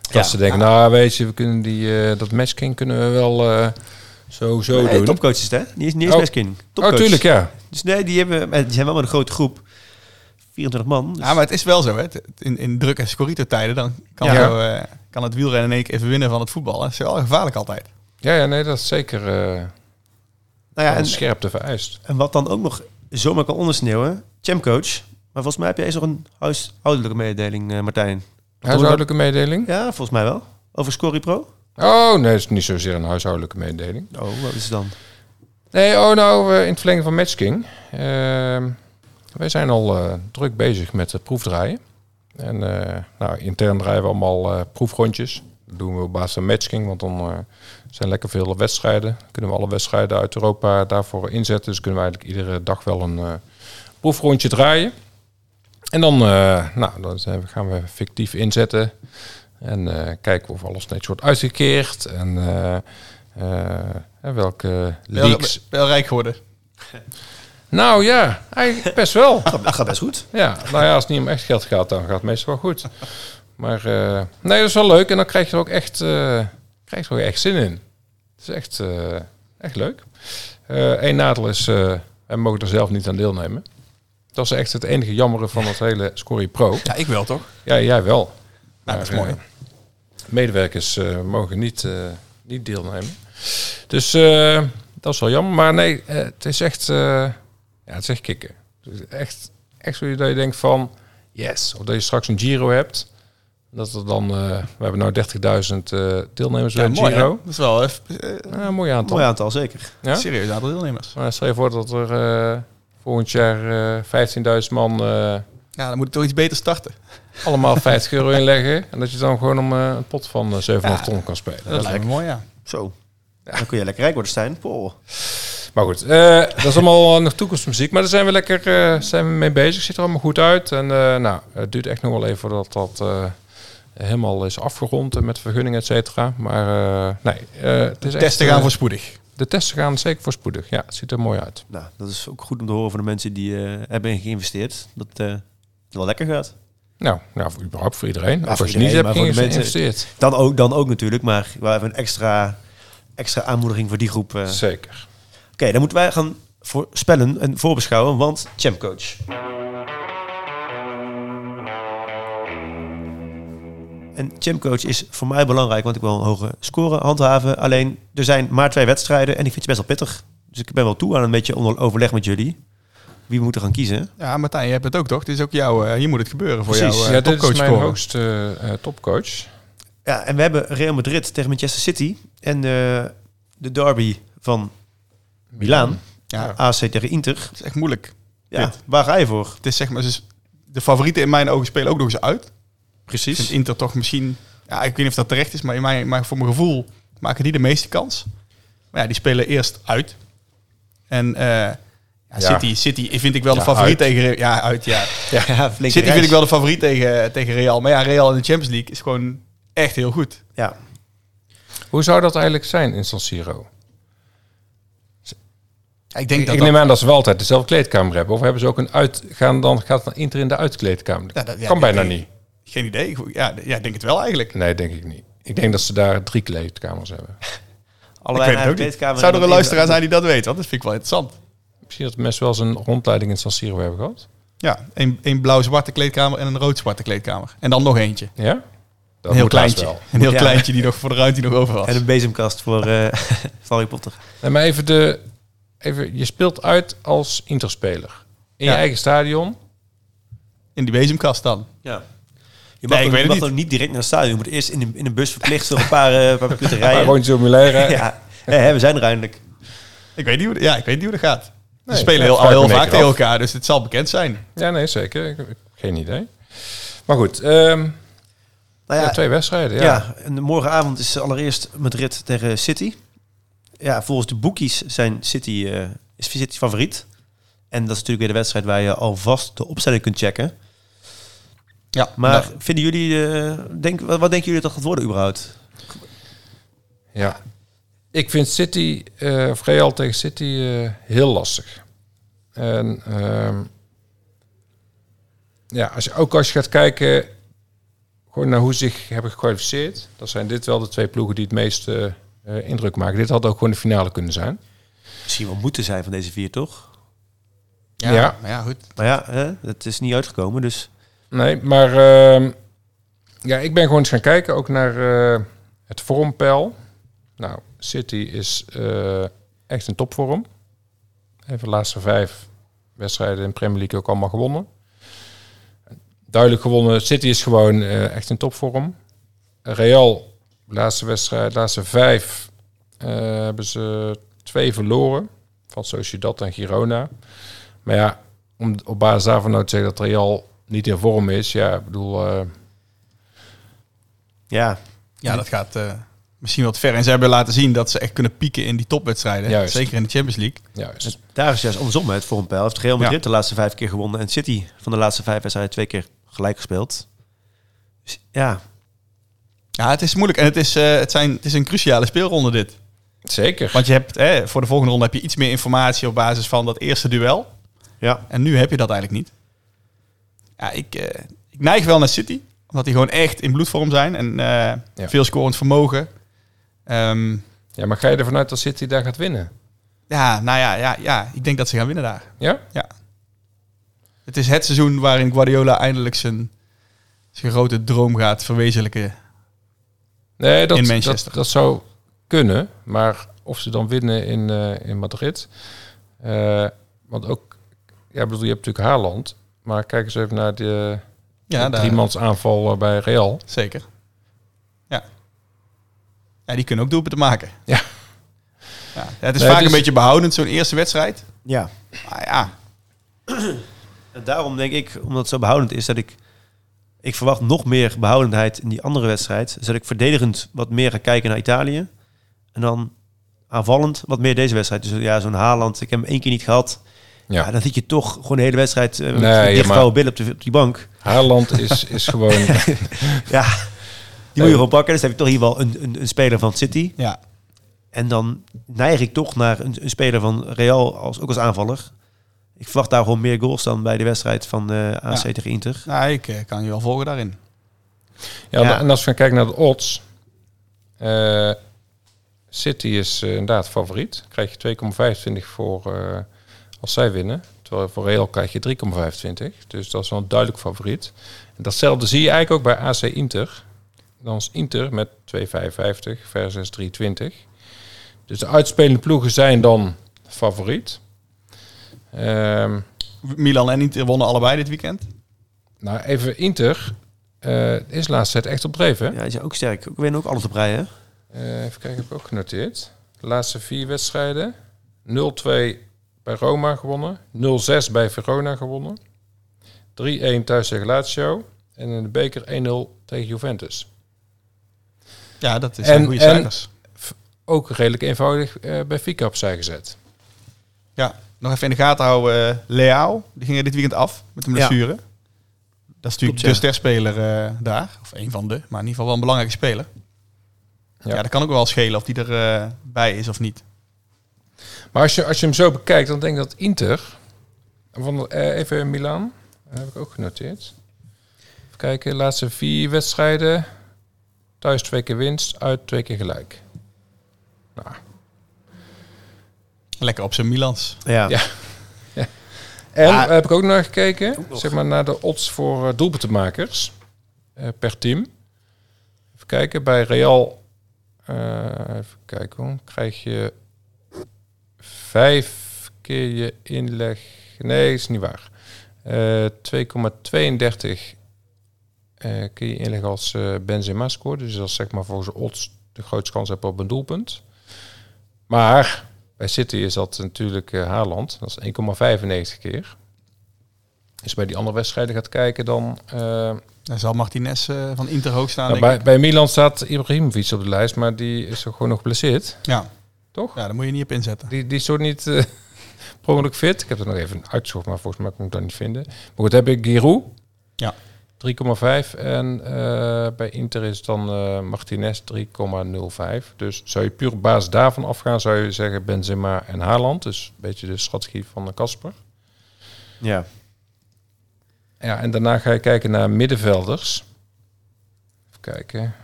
Speaker 2: Dat
Speaker 1: Ja.
Speaker 2: ze denken, nou weet je, we kunnen die, eh, dat matchking kunnen we wel eh, zo, zo
Speaker 1: Nee,
Speaker 2: doen.
Speaker 1: topcoach is het, hè? Niet, eens- niet eens
Speaker 2: Oh.
Speaker 1: Meskin.
Speaker 2: Oh,
Speaker 1: Topcoach.
Speaker 2: tuurlijk, ja.
Speaker 1: Dus nee, die, hebben, eh, die zijn wel met een grote groep. 24 man. Dus
Speaker 3: Ja, maar het is wel zo, hè? Het- het- In, in druk- en scorito-tijden dan kan,
Speaker 2: Ja.
Speaker 3: zo, eh, kan het wielrennen in één keer even winnen van het voetbal. hè. Dat is wel gevaarlijk altijd.
Speaker 2: Ja, ja, nee, dat is zeker eh
Speaker 1: nou ja, en,
Speaker 2: scherpte vereist.
Speaker 1: en wat dan ook nog zomaar kan ondersneeuwen. Champcoach. Maar volgens mij heb jij eens nog een huishoudelijke mededeling, eh, Martijn.
Speaker 2: Huishoudelijke mededeling?
Speaker 1: Ja, volgens mij wel. Over Scory Pro?
Speaker 2: Oh, nee, het is niet zozeer een huishoudelijke mededeling.
Speaker 1: Oh, wat is het dan?
Speaker 2: Nee, oh, nou, eh, in het verlengde van Matchking. Ehm wij zijn al eh, druk bezig met het proefdraaien. En eh, nou, intern draaien we allemaal eh, proefrondjes. Dat doen we op basis van Matchking, want dan eh, zijn lekker veel wedstrijden. Kunnen we alle wedstrijden uit Europa daarvoor inzetten. Dus kunnen we eigenlijk iedere dag wel een eh, proefrondje draaien. En dan, eh, nou, dan zijn we, gaan we fictief inzetten. En eh, kijken of alles netjes wordt uitgekeerd. En eh, eh, en welke
Speaker 3: Ben je al-
Speaker 2: leaks
Speaker 3: ben je al rijk geworden.
Speaker 2: nou ja, eigenlijk best wel.
Speaker 1: Dat gaat best goed.
Speaker 2: Ja, nou ja, als het niet om echt geld gaat, dan gaat het meestal wel goed. Maar eh, nee, dat is wel leuk. En dan krijg je er ook echt, eh, krijg je er ook echt zin in. Het is echt, eh, echt leuk. Eén nadeel is, eh wij mogen er zelf niet aan deelnemen. Dat is echt het enige jammere van het hele Scorie Pro.
Speaker 3: Ja, ik wel toch?
Speaker 2: Ja, jij wel.
Speaker 3: Nou, dat is
Speaker 2: Maar,
Speaker 3: mooi.
Speaker 2: eh, medewerkers eh, mogen niet, eh, niet deelnemen. Dus eh, dat is wel jammer. Maar nee, eh, het is echt, eh, ja, het is echt kicken. Het is echt, echt zo dat je denkt van, yes. Of dat je straks een Giro hebt. Dat er dan, eh, we hebben nou 30.000 eh, deelnemers bij
Speaker 3: Ja,
Speaker 2: een
Speaker 3: mooi. hè?
Speaker 2: Giro.
Speaker 3: Dat is wel een eh,
Speaker 2: Ja, een mooi aantal.
Speaker 1: Mooi aantal, zeker.
Speaker 2: Ja?
Speaker 3: serieus aantal deelnemers.
Speaker 2: Maar stel je voor dat er eh, volgend jaar eh 15.000 man... eh,
Speaker 3: Ja, dan moet ik toch iets beter starten.
Speaker 2: allemaal 50 euro inleggen. En dat je dan gewoon om eh, een pot van eh, 700
Speaker 3: Ja.
Speaker 2: ton kan spelen.
Speaker 3: Dat, lijkt me mooi, ja.
Speaker 1: Zo. Dan kun je lekker rijk worden, Stijn. Poh.
Speaker 2: Maar goed, eh, dat is allemaal nog toekomstmuziek. Maar daar zijn we lekker eh, zijn we mee bezig. Ziet er allemaal goed uit. En eh, nou, het duurt echt nog wel even voordat dat eh, helemaal is afgerond eh, met vergunningen, et cetera. Maar eh, nee, eh, het is echt,
Speaker 3: Testen gaan
Speaker 2: eh,
Speaker 3: voorspoedig.
Speaker 2: de de testen gaan zeker voorspoedig. Ja, het ziet er mooi uit.
Speaker 1: Nou, dat is ook goed om te horen van de mensen die eh, hebben geïnvesteerd. Dat eh, het wel lekker gaat.
Speaker 2: Nou, nou voor, überhaupt voor iedereen.
Speaker 1: Ja,
Speaker 2: Of
Speaker 1: voor
Speaker 2: als je niet
Speaker 1: iedereen,
Speaker 2: hebt
Speaker 1: maar voor de mensen-
Speaker 2: geïnvesteerd.
Speaker 1: Dan ook, dan ook natuurlijk, maar wel even een extra, extra aanmoediging voor die groep. eh. Oké,
Speaker 2: Zeker.
Speaker 1: dan moeten wij gaan voorspellen en voorbeschouwen, want Champcoach. En Champcoach is voor mij belangrijk, want ik wil een hoge score handhaven. Alleen, er zijn maar twee wedstrijden en ik vind ze best wel pittig. Dus ik ben wel toe aan een beetje onder overleg met jullie. Wie we moeten gaan kiezen?
Speaker 3: Ja, Martijn, je hebt het ook toch? Dit is ook jouw, eh, hier moet het gebeuren voor
Speaker 1: Precies.
Speaker 3: jou.
Speaker 2: ja, dit is mijn
Speaker 3: topcoachscore.
Speaker 2: hoogste eh, topcoach.
Speaker 1: Ja, en we hebben Real Madrid tegen Manchester City. En eh, de derby van Milaan.
Speaker 3: Ja, het
Speaker 1: AC tegen Inter.
Speaker 3: is echt moeilijk.
Speaker 1: Ja, waar ga je voor?
Speaker 3: Het is zeg maar, ze is- de favorieten in mijn ogen spelen ook nog eens uit. Ik vind
Speaker 1: Precies.
Speaker 3: Inter toch misschien, ja, ik weet niet of dat terecht is, maar, in mijn, maar voor mijn gevoel maken die de meeste kans. Maar ja, die spelen eerst uit. En eh, ja, City, City vind ik wel de
Speaker 2: Ja,
Speaker 3: favoriet
Speaker 2: uit.
Speaker 3: tegen... Re- Ja, uit, ja.
Speaker 1: Ja, flink
Speaker 3: City vind ik wel de favoriet tegen, tegen Real. Maar ja, Real in de Champions League is gewoon echt heel goed.
Speaker 1: Ja,
Speaker 2: Hoe zou dat eigenlijk zijn in San Siro?
Speaker 3: ik denk
Speaker 2: ik neem aan dat ze wel altijd dezelfde kleedkamer hebben. Of hebben ze ook een uit... Gaan dan, gaat dan Inter in de uitkleedkamer?
Speaker 3: Ja, dat- ja,
Speaker 2: kan
Speaker 3: dat-
Speaker 2: bijna
Speaker 3: ik-
Speaker 2: niet.
Speaker 3: Geen idee. Ik- Ja, d- ja, ik denk het wel eigenlijk.
Speaker 2: Nee, denk ik niet. Ik denk dat ze daar drie kleedkamers hebben.
Speaker 1: allebei naar
Speaker 3: ik weet het
Speaker 1: de
Speaker 3: ook niet.
Speaker 1: kleedkamer.
Speaker 3: Zou
Speaker 1: en
Speaker 3: er een
Speaker 1: dan
Speaker 3: luisteraar
Speaker 1: even-
Speaker 3: zijn die dat weet? Want dat vind ik wel interessant.
Speaker 2: Misschien dat mensen wel eens een rondleiding in San Siro hebben gehad.
Speaker 3: Ja, een, een blauw-zwarte kleedkamer en een rood-zwarte kleedkamer. En dan nog eentje.
Speaker 2: Ja? Dat
Speaker 3: een heel
Speaker 2: moet laatst
Speaker 3: kleintje.
Speaker 2: wel.
Speaker 3: Een heel
Speaker 1: Ja.
Speaker 3: kleintje die nog voor de ruimte die nog over was.
Speaker 1: En een bezemkast voor eh, van Harry Potter.
Speaker 2: Nee, maar even de... Even, je speelt uit als Interspeler. In
Speaker 3: Ja.
Speaker 2: je eigen stadion.
Speaker 3: In die bezemkast dan.
Speaker 1: Ja. Je
Speaker 3: Nee,
Speaker 1: mag,
Speaker 3: ik
Speaker 1: ook,
Speaker 3: weet
Speaker 1: je
Speaker 3: het
Speaker 1: mag
Speaker 3: niet.
Speaker 1: ook niet direct naar het stadion. Je moet eerst in een, in een bus verplicht door een paar, eh paar minuten
Speaker 2: Hij
Speaker 1: rijden.
Speaker 2: woont zo
Speaker 3: eh,
Speaker 2: Milaire.
Speaker 1: Ja, Hé, we zijn er eindelijk.
Speaker 3: Ik weet niet hoe, ja, ik weet niet hoe dat gaat. Ze
Speaker 2: Nee,
Speaker 3: spelen
Speaker 2: dat
Speaker 3: heel, al
Speaker 2: vraag ik
Speaker 3: heel
Speaker 2: me
Speaker 3: vaak
Speaker 2: zeker
Speaker 3: tegen
Speaker 2: af.
Speaker 3: elkaar, dus het zal bekend zijn.
Speaker 2: Ja, nee, zeker. Ik, ik- geen idee. Maar goed, ehm,
Speaker 1: Nou
Speaker 2: ja,
Speaker 1: ja,
Speaker 2: twee wedstrijden.
Speaker 1: ja.
Speaker 2: Ja.
Speaker 1: en morgenavond is allereerst Madrid tegen City. Ja, volgens de bookies zijn City, eh, is City favoriet. En dat is natuurlijk weer de wedstrijd waar je alvast de opstelling kunt checken.
Speaker 3: Ja,
Speaker 1: Maar
Speaker 3: nou,
Speaker 1: vinden jullie, eh, denk, wat, wat denken jullie dat gaat worden überhaupt?
Speaker 2: Ja. Ik vind City, eh of Real tegen City, eh, heel lastig. En ehm, ja, als je, ook als je gaat kijken gewoon naar hoe ze zich hebben gekwalificeerd, dan zijn dit wel de twee ploegen die het meeste eh, indruk maken. Dit had ook gewoon de finale kunnen zijn.
Speaker 1: Misschien wel moeten zijn van deze vier, toch?
Speaker 3: ja,
Speaker 2: ja.
Speaker 3: Maar ja, goed.
Speaker 1: Maar ja, hè, het is niet uitgekomen, dus...
Speaker 2: Nee, maar ehm, ja, ik ben gewoon eens gaan kijken ook naar eh, het vormpeil. Nou, City is eh, echt een topvorm. Even de laatste vijf wedstrijden in de Premier League ook allemaal gewonnen. Duidelijk gewonnen. City is gewoon eh, echt een topvorm. Real, laatste wedstrijd, laatste vijf eh, hebben ze twee verloren. Van Sociedad en Girona. Maar ja, om op basis daarvan nou te zeggen dat Real niet in vorm is. Ja, ik bedoel, eh,
Speaker 1: Ja,
Speaker 3: Ja, dat gaat eh, misschien wat ver. En ze hebben laten zien dat ze echt kunnen pieken in die topwedstrijden.
Speaker 2: Juist.
Speaker 3: Zeker in de Champions League. Dus-
Speaker 2: juist.
Speaker 1: daar is juist andersom hè, het vormpeil. Heeft Real Madrid
Speaker 3: Ja.
Speaker 1: de laatste vijf keer gewonnen... en City van de laatste vijf wedstrijden twee keer gelijk gespeeld. Dus ja,
Speaker 3: Ja, het is moeilijk. En het is, eh, het zijn, het is een cruciale speelronde dit.
Speaker 2: Zeker.
Speaker 3: Want je hebt, eh, voor de volgende ronde heb je iets meer informatie op basis van dat eerste duel.
Speaker 1: ja.
Speaker 3: En nu heb je dat eigenlijk niet. Ja, ik, eh, ik neig wel naar City. Omdat die gewoon echt in bloedvorm zijn. En eh,
Speaker 2: Ja.
Speaker 3: veel scorend vermogen. Ehm,
Speaker 2: Ja, maar ga je ervan uit dat City daar gaat winnen?
Speaker 3: ja, nou ja, ja, ja, ik denk dat ze gaan winnen daar.
Speaker 2: Ja?
Speaker 3: Het is het seizoen waarin Guardiola eindelijk zijn, zijn grote droom gaat verwezenlijken.
Speaker 2: Nee, dat,
Speaker 3: In Manchester.
Speaker 2: Dat, dat zou kunnen. Maar of ze dan winnen in, eh, in Madrid. eh, want ook, ja, ik bedoel, je hebt natuurlijk Haaland. Maar kijk eens even naar de
Speaker 3: Ja, daar-
Speaker 2: driemans aanval bij Real.
Speaker 3: Zeker. Ja. Ja, die kunnen ook doelpunten maken.
Speaker 2: Ja.
Speaker 3: ja het is
Speaker 2: Nee,
Speaker 3: vaak
Speaker 2: dus-
Speaker 3: een beetje behoudend, zo'n eerste wedstrijd.
Speaker 1: ja.
Speaker 3: Maar ja,
Speaker 1: En daarom denk ik, omdat het zo behoudend is, dat ik... Ik verwacht nog meer behoudendheid in die andere wedstrijd. Dus dat ik verdedigend wat meer ga kijken naar Italië. En dan aanvallend wat meer deze wedstrijd. Dus ja, zo'n Haaland, ik heb hem één keer niet gehad. Ja.
Speaker 2: Ja,
Speaker 1: dan zit je toch gewoon de hele wedstrijd eh, met
Speaker 2: Nee,
Speaker 1: nee,
Speaker 2: ja,
Speaker 1: dichtgevouwen
Speaker 2: maar-
Speaker 1: billen op, de, op die bank.
Speaker 2: Haaland is, is gewoon...
Speaker 1: Eh, Ja, die moet je gewoon pakken. Dus dan heb je toch hier wel een, een, een speler van City.
Speaker 3: ja.
Speaker 1: En dan neig ik toch naar een, een speler van Real, als, ook als aanvaller. Ik verwacht daar gewoon meer goals dan bij de wedstrijd van eh AC
Speaker 3: Ja.
Speaker 1: tegen Inter.
Speaker 3: Nou, ik eh, kan je wel volgen daarin.
Speaker 2: Ja,
Speaker 1: Ja.
Speaker 2: En als we gaan kijken naar de odds. eh, City is eh, inderdaad favoriet. Krijg je 2,25 voor eh, als zij winnen. Terwijl voor Real krijg je 3,25. Dus dat is wel een duidelijk favoriet. En datzelfde zie je eigenlijk ook bij AC Inter. Dan is Inter met 2,55 versus 3,20. Dus de uitspelende ploegen zijn dan favoriet. Ehm
Speaker 3: Milan en Inter wonnen allebei dit weekend.
Speaker 2: nou, even Inter eh, is laatst tijd echt op dreef, hè?
Speaker 1: Ja, die zijn ook sterk. Ik winnen ook alles op rij, hè?
Speaker 2: Eh, even kijken, heb ik ook genoteerd. De laatste vier wedstrijden. 0-2 bij Roma gewonnen. 0-6 bij Verona gewonnen. 3-1 thuis tegen Lazio. En in de beker 1-0 tegen Juventus.
Speaker 3: Ja, dat is
Speaker 2: En-
Speaker 3: een goede
Speaker 2: en-
Speaker 3: cijfers.
Speaker 2: Ook redelijk eenvoudig eh, bij Fika opzij gezet.
Speaker 3: Ja, nog even in de gaten houden. eh, Leao, die ging er dit weekend af met een
Speaker 1: Ja.
Speaker 3: blessure. Dat is natuurlijk
Speaker 1: Klopt, ja.
Speaker 3: de sterspeler eh, daar. Of een van de, maar in ieder geval wel een belangrijke speler. Ja,
Speaker 2: Ja.
Speaker 3: dat kan ook wel schelen of die er eh, bij is of niet.
Speaker 2: Maar als je, als je hem zo bekijkt, dan denk ik dat Inter... Van, eh, even Milan, dat heb ik ook genoteerd. Even kijken, de laatste vier wedstrijden. Thuis twee keer winst, uit twee keer gelijk. Nou,
Speaker 3: Lekker op zijn Milans.
Speaker 1: Ja.
Speaker 2: Ja. En
Speaker 1: Ja.
Speaker 2: daar heb ik ook naar gekeken,
Speaker 1: nog.
Speaker 2: zeg maar naar de odds voor eh, doelpuntenmakers eh, per team. Even kijken, bij Real, eh, even kijken, hoor, krijg je vijf keer je inleg. Nee, is niet waar. Eh, 2,32 eh keer je inleg als eh, Benzema scoort. Dus dat is zeg maar volgens de odds de grootste kans hebt op een doelpunt. Maar bij City is dat natuurlijk eh, Haaland. Dat is 1,95 keer. Als je bij die andere wedstrijden gaat kijken, dan... eh,
Speaker 3: Daar zal Martinez eh, van Inter hoog staan.
Speaker 2: nou,
Speaker 3: denk
Speaker 2: bij,
Speaker 3: ik.
Speaker 2: bij Milan staat Ibrahimovic op de lijst, maar die is er gewoon nog geblesseerd,
Speaker 3: Ja.
Speaker 2: toch?
Speaker 3: ja, daar moet je niet op inzetten.
Speaker 2: Die, die is zo niet eh per ongeluk fit. Ik heb er nog even uitgezocht, maar volgens mij kon ik dat niet vinden. Maar goed, heb ik Giroud.
Speaker 3: Ja.
Speaker 2: 3,5. En eh, bij Inter is dan eh, Martinez 3,05. Dus zou je puur op basis daarvan afgaan, zou je zeggen Benzema en Haaland. Dus een beetje de strategie van eh, Casper.
Speaker 1: ja.
Speaker 2: Ja, en daarna ga je kijken naar middenvelders. Even kijken.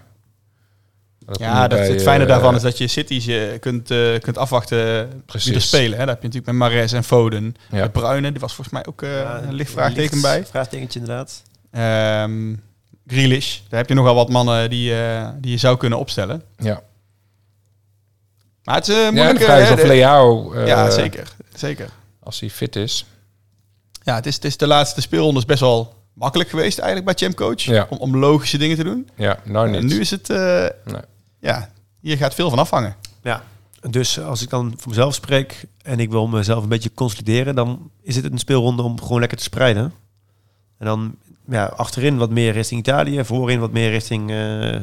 Speaker 2: Dat
Speaker 3: Ja,
Speaker 2: moet
Speaker 3: dat,
Speaker 2: bij,
Speaker 3: het fijne
Speaker 2: eh,
Speaker 3: daarvan is dat je cities je kunt, eh, kunt afwachten wie er
Speaker 2: Precies.
Speaker 3: spelen. Hè. Daar heb je natuurlijk met Mares en Foden.
Speaker 2: Ja.
Speaker 3: Met Bruinen, die was volgens mij ook eh, een licht
Speaker 1: licht
Speaker 3: vraagteken bij.
Speaker 1: Vraagtekentje inderdaad.
Speaker 3: Ehm Grealish, daar heb je nogal wat mannen die, eh, die je zou kunnen opstellen.
Speaker 2: Ja,
Speaker 3: Maar het is eh,
Speaker 2: ja
Speaker 3: moeilijk.
Speaker 2: de
Speaker 3: eh,
Speaker 2: vraag is
Speaker 3: hè,
Speaker 2: of
Speaker 3: de-
Speaker 2: Leao, eh,
Speaker 3: ja, zeker. zeker.
Speaker 2: als hij fit is.
Speaker 3: Ja, het is, het is de laatste speelronde is best wel makkelijk geweest eigenlijk bij Champ Coach.
Speaker 2: Ja.
Speaker 3: Om, om logische dingen te doen.
Speaker 2: Ja, nou niet.
Speaker 3: En nu is het... eh,
Speaker 2: Nee.
Speaker 3: Ja, hier gaat veel van afhangen.
Speaker 1: Dus als ik dan voor mezelf spreek en ik wil mezelf een beetje consolideren, dan is het een speelronde om gewoon lekker te spreiden. En dan ja, achterin wat meer richting Italië, voorin wat meer richting eh,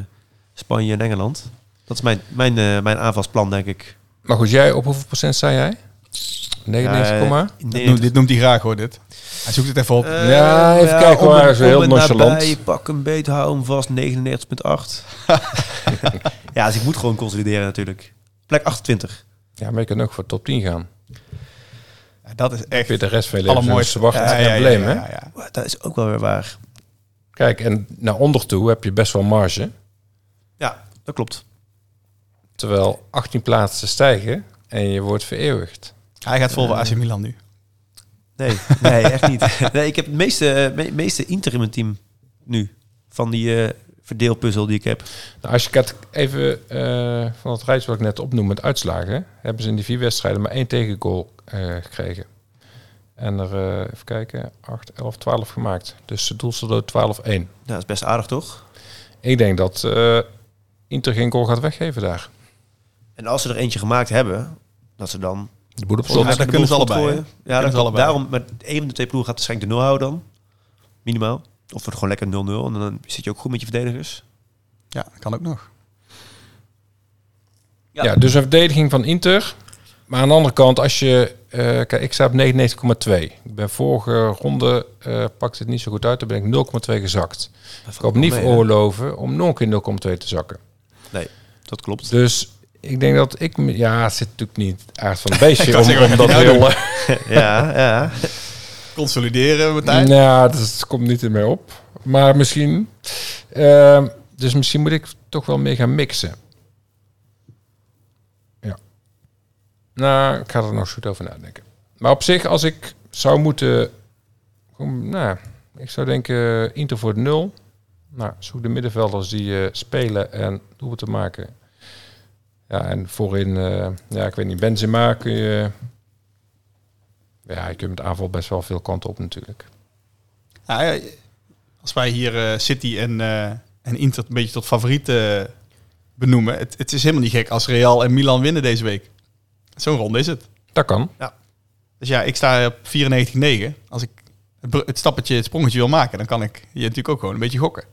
Speaker 1: Spanje en Engeland. Dat is mijn, mijn, eh, mijn aanvalsplan, denk ik.
Speaker 2: Maar goed, jij op hoeveel procent zei jij?
Speaker 3: eh,
Speaker 2: 99, komma?
Speaker 1: In
Speaker 3: Dat noemt- dit noemt hij graag hoor, dit. Hij zoekt het even op.
Speaker 1: Eh,
Speaker 2: Ja, even kijken
Speaker 1: om
Speaker 2: hoor,
Speaker 1: het-
Speaker 2: is heel
Speaker 1: om het
Speaker 2: nonchalant.
Speaker 1: nabij, pak een beet, hou hem vast, 99,8. ja, dus ik moet gewoon consolideren natuurlijk. Plek 28.
Speaker 2: ja, maar je kunt ook voor top 10 gaan.
Speaker 3: Ja, dat is
Speaker 2: Ik
Speaker 3: echt
Speaker 2: weet de rest van je leven
Speaker 3: allermooiste.
Speaker 2: is te wachten.
Speaker 3: Ja, ja,
Speaker 2: eh, en
Speaker 3: ja,
Speaker 2: embleem,
Speaker 3: ja,
Speaker 2: hè?
Speaker 3: ja, ja.
Speaker 1: Dat is ook wel weer waar.
Speaker 2: Kijk, en naar onder toe heb je best wel marge.
Speaker 1: Ja, dat klopt.
Speaker 2: Terwijl 18 plaatsen stijgen en je wordt vereeuwigd.
Speaker 3: Hij gaat vol voor AC Milan nu.
Speaker 1: Nee, nee echt niet. Nee, ik heb het meeste, eh, me- meeste interim team nu. Van die eh, verdeelpuzzel die ik heb.
Speaker 2: Nou, als je kijkt even eh, van het rijtje wat ik net opnoem met uitslagen, hebben ze in die vier wedstrijden maar één tegengoal eh, gekregen. En er, eh, even kijken, 8, 11, 12 gemaakt. Dus de doelsaldo 12-1.
Speaker 1: Nou, dat is best aardig toch?
Speaker 2: Ik denk dat eh, Inter geen goal gaat weggeven daar.
Speaker 1: En als ze er eentje gemaakt hebben, dat ze dan...
Speaker 2: De boel op
Speaker 3: Volgens mij
Speaker 2: slot.
Speaker 1: de
Speaker 3: kunnen ze
Speaker 1: boel goed
Speaker 3: allebei,
Speaker 1: gooien. Ja,
Speaker 3: kunnen
Speaker 1: dat
Speaker 3: ze allebei.
Speaker 1: daarom met één van de twee ploegen gaat waarschijnlijk de nul houden dan. Minimaal. Of wordt gewoon lekker 0-0 en dan zit je ook goed met je verdedigers.
Speaker 3: Ja, kan ook nog.
Speaker 2: Ja. dus een verdediging van Inter. Maar aan de andere kant, als je... eh, kijk, ik sta op 99,2. Ik ben vorige ronde, eh pakte het niet zo goed uit. Toen ben ik 0,2 gezakt.
Speaker 1: Dat
Speaker 2: Ik kan me niet veroorloven om nog een keer 0,2 te zakken.
Speaker 1: Dat klopt.
Speaker 2: Dus Ik denk dat ik... me- Ja, het zit natuurlijk niet aard van het beestje
Speaker 3: wou
Speaker 2: om,
Speaker 3: zeggen,
Speaker 2: om
Speaker 3: wat
Speaker 2: dat
Speaker 3: gaat hij nou
Speaker 2: heel...
Speaker 1: ja, ja.
Speaker 3: Consolideren, Martijn.
Speaker 2: Nou, ja, dat is- komt niet in mij op. Maar misschien... ehm, dus misschien moet ik toch wel mee gaan mixen. Ja. Nou, ik ga er nog eens goed over nadenken. Maar op zich, als ik zou moeten... gewoon, Nou, ik zou denken eh, Inter voor het nul. Nou, zoek de middenvelders die eh, spelen en doelpunten maken. Ja, en voorin, eh, ja, ik weet niet, Benzema kun je... Ja, je kunt met aanval best wel veel kanten op natuurlijk.
Speaker 3: Nou ja, als wij hier eh, City en, eh, en Inter een beetje tot favoriet eh, benoemen. Het, het is helemaal niet gek als Real en Milan winnen deze week. Zo'n ronde is het.
Speaker 2: Dat kan.
Speaker 3: Dus ja, ik sta op 94,9. Als ik het br- het stappetje, het sprongetje wil maken, dan kan ik je natuurlijk ook gewoon een beetje gokken.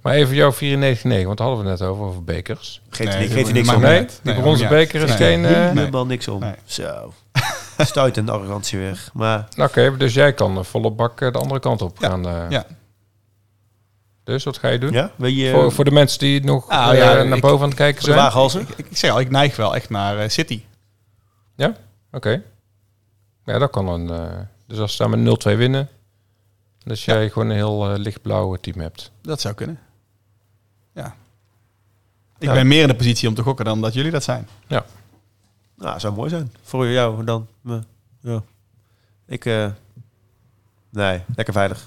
Speaker 2: Maar even jouw 94-9, want daar hadden we het net over, over bekers.
Speaker 1: Geeft,
Speaker 3: Nee,
Speaker 1: er ni- geeft er
Speaker 3: dat
Speaker 1: niks
Speaker 3: maakt
Speaker 1: om.
Speaker 3: me
Speaker 2: Nee,
Speaker 3: niet uit.
Speaker 2: die
Speaker 3: Oh, Nee,
Speaker 2: bronzen
Speaker 3: maakt me niet
Speaker 2: beker is
Speaker 3: uit.
Speaker 2: geen...
Speaker 3: Nee.
Speaker 2: eh,
Speaker 3: Nee.
Speaker 1: Helemaal niks om.
Speaker 3: Nee.
Speaker 1: Zo. Stuit en arrogantie weer. Maar
Speaker 2: nou, Oké, dus jij kan eh, volle bak eh, de andere kant op
Speaker 3: Ja.
Speaker 2: gaan. eh.
Speaker 3: Ja.
Speaker 2: Dus wat ga je doen?
Speaker 1: ja, wil je...
Speaker 2: Voor, voor de mensen die nog
Speaker 3: Ah,
Speaker 2: eh,
Speaker 3: ja,
Speaker 2: naar
Speaker 3: ik-
Speaker 2: boven aan het kijken
Speaker 1: voor de
Speaker 2: zijn. Oké.
Speaker 1: waaghalzen?
Speaker 3: Ik, ik zeg al, ik neig wel echt naar eh, City.
Speaker 2: Ja, dat kan een... eh, dus als ze daar met 0-2 winnen, dat jij gewoon een heel eh, lichtblauwe team hebt.
Speaker 3: Dat zou kunnen. Ja. Ik
Speaker 1: Ja.
Speaker 3: ben meer in de positie om te gokken dan dat jullie dat zijn.
Speaker 1: Nou, zou mooi zijn. Voor jou dan. Maar, ja. Ik... eh, nee, lekker veilig.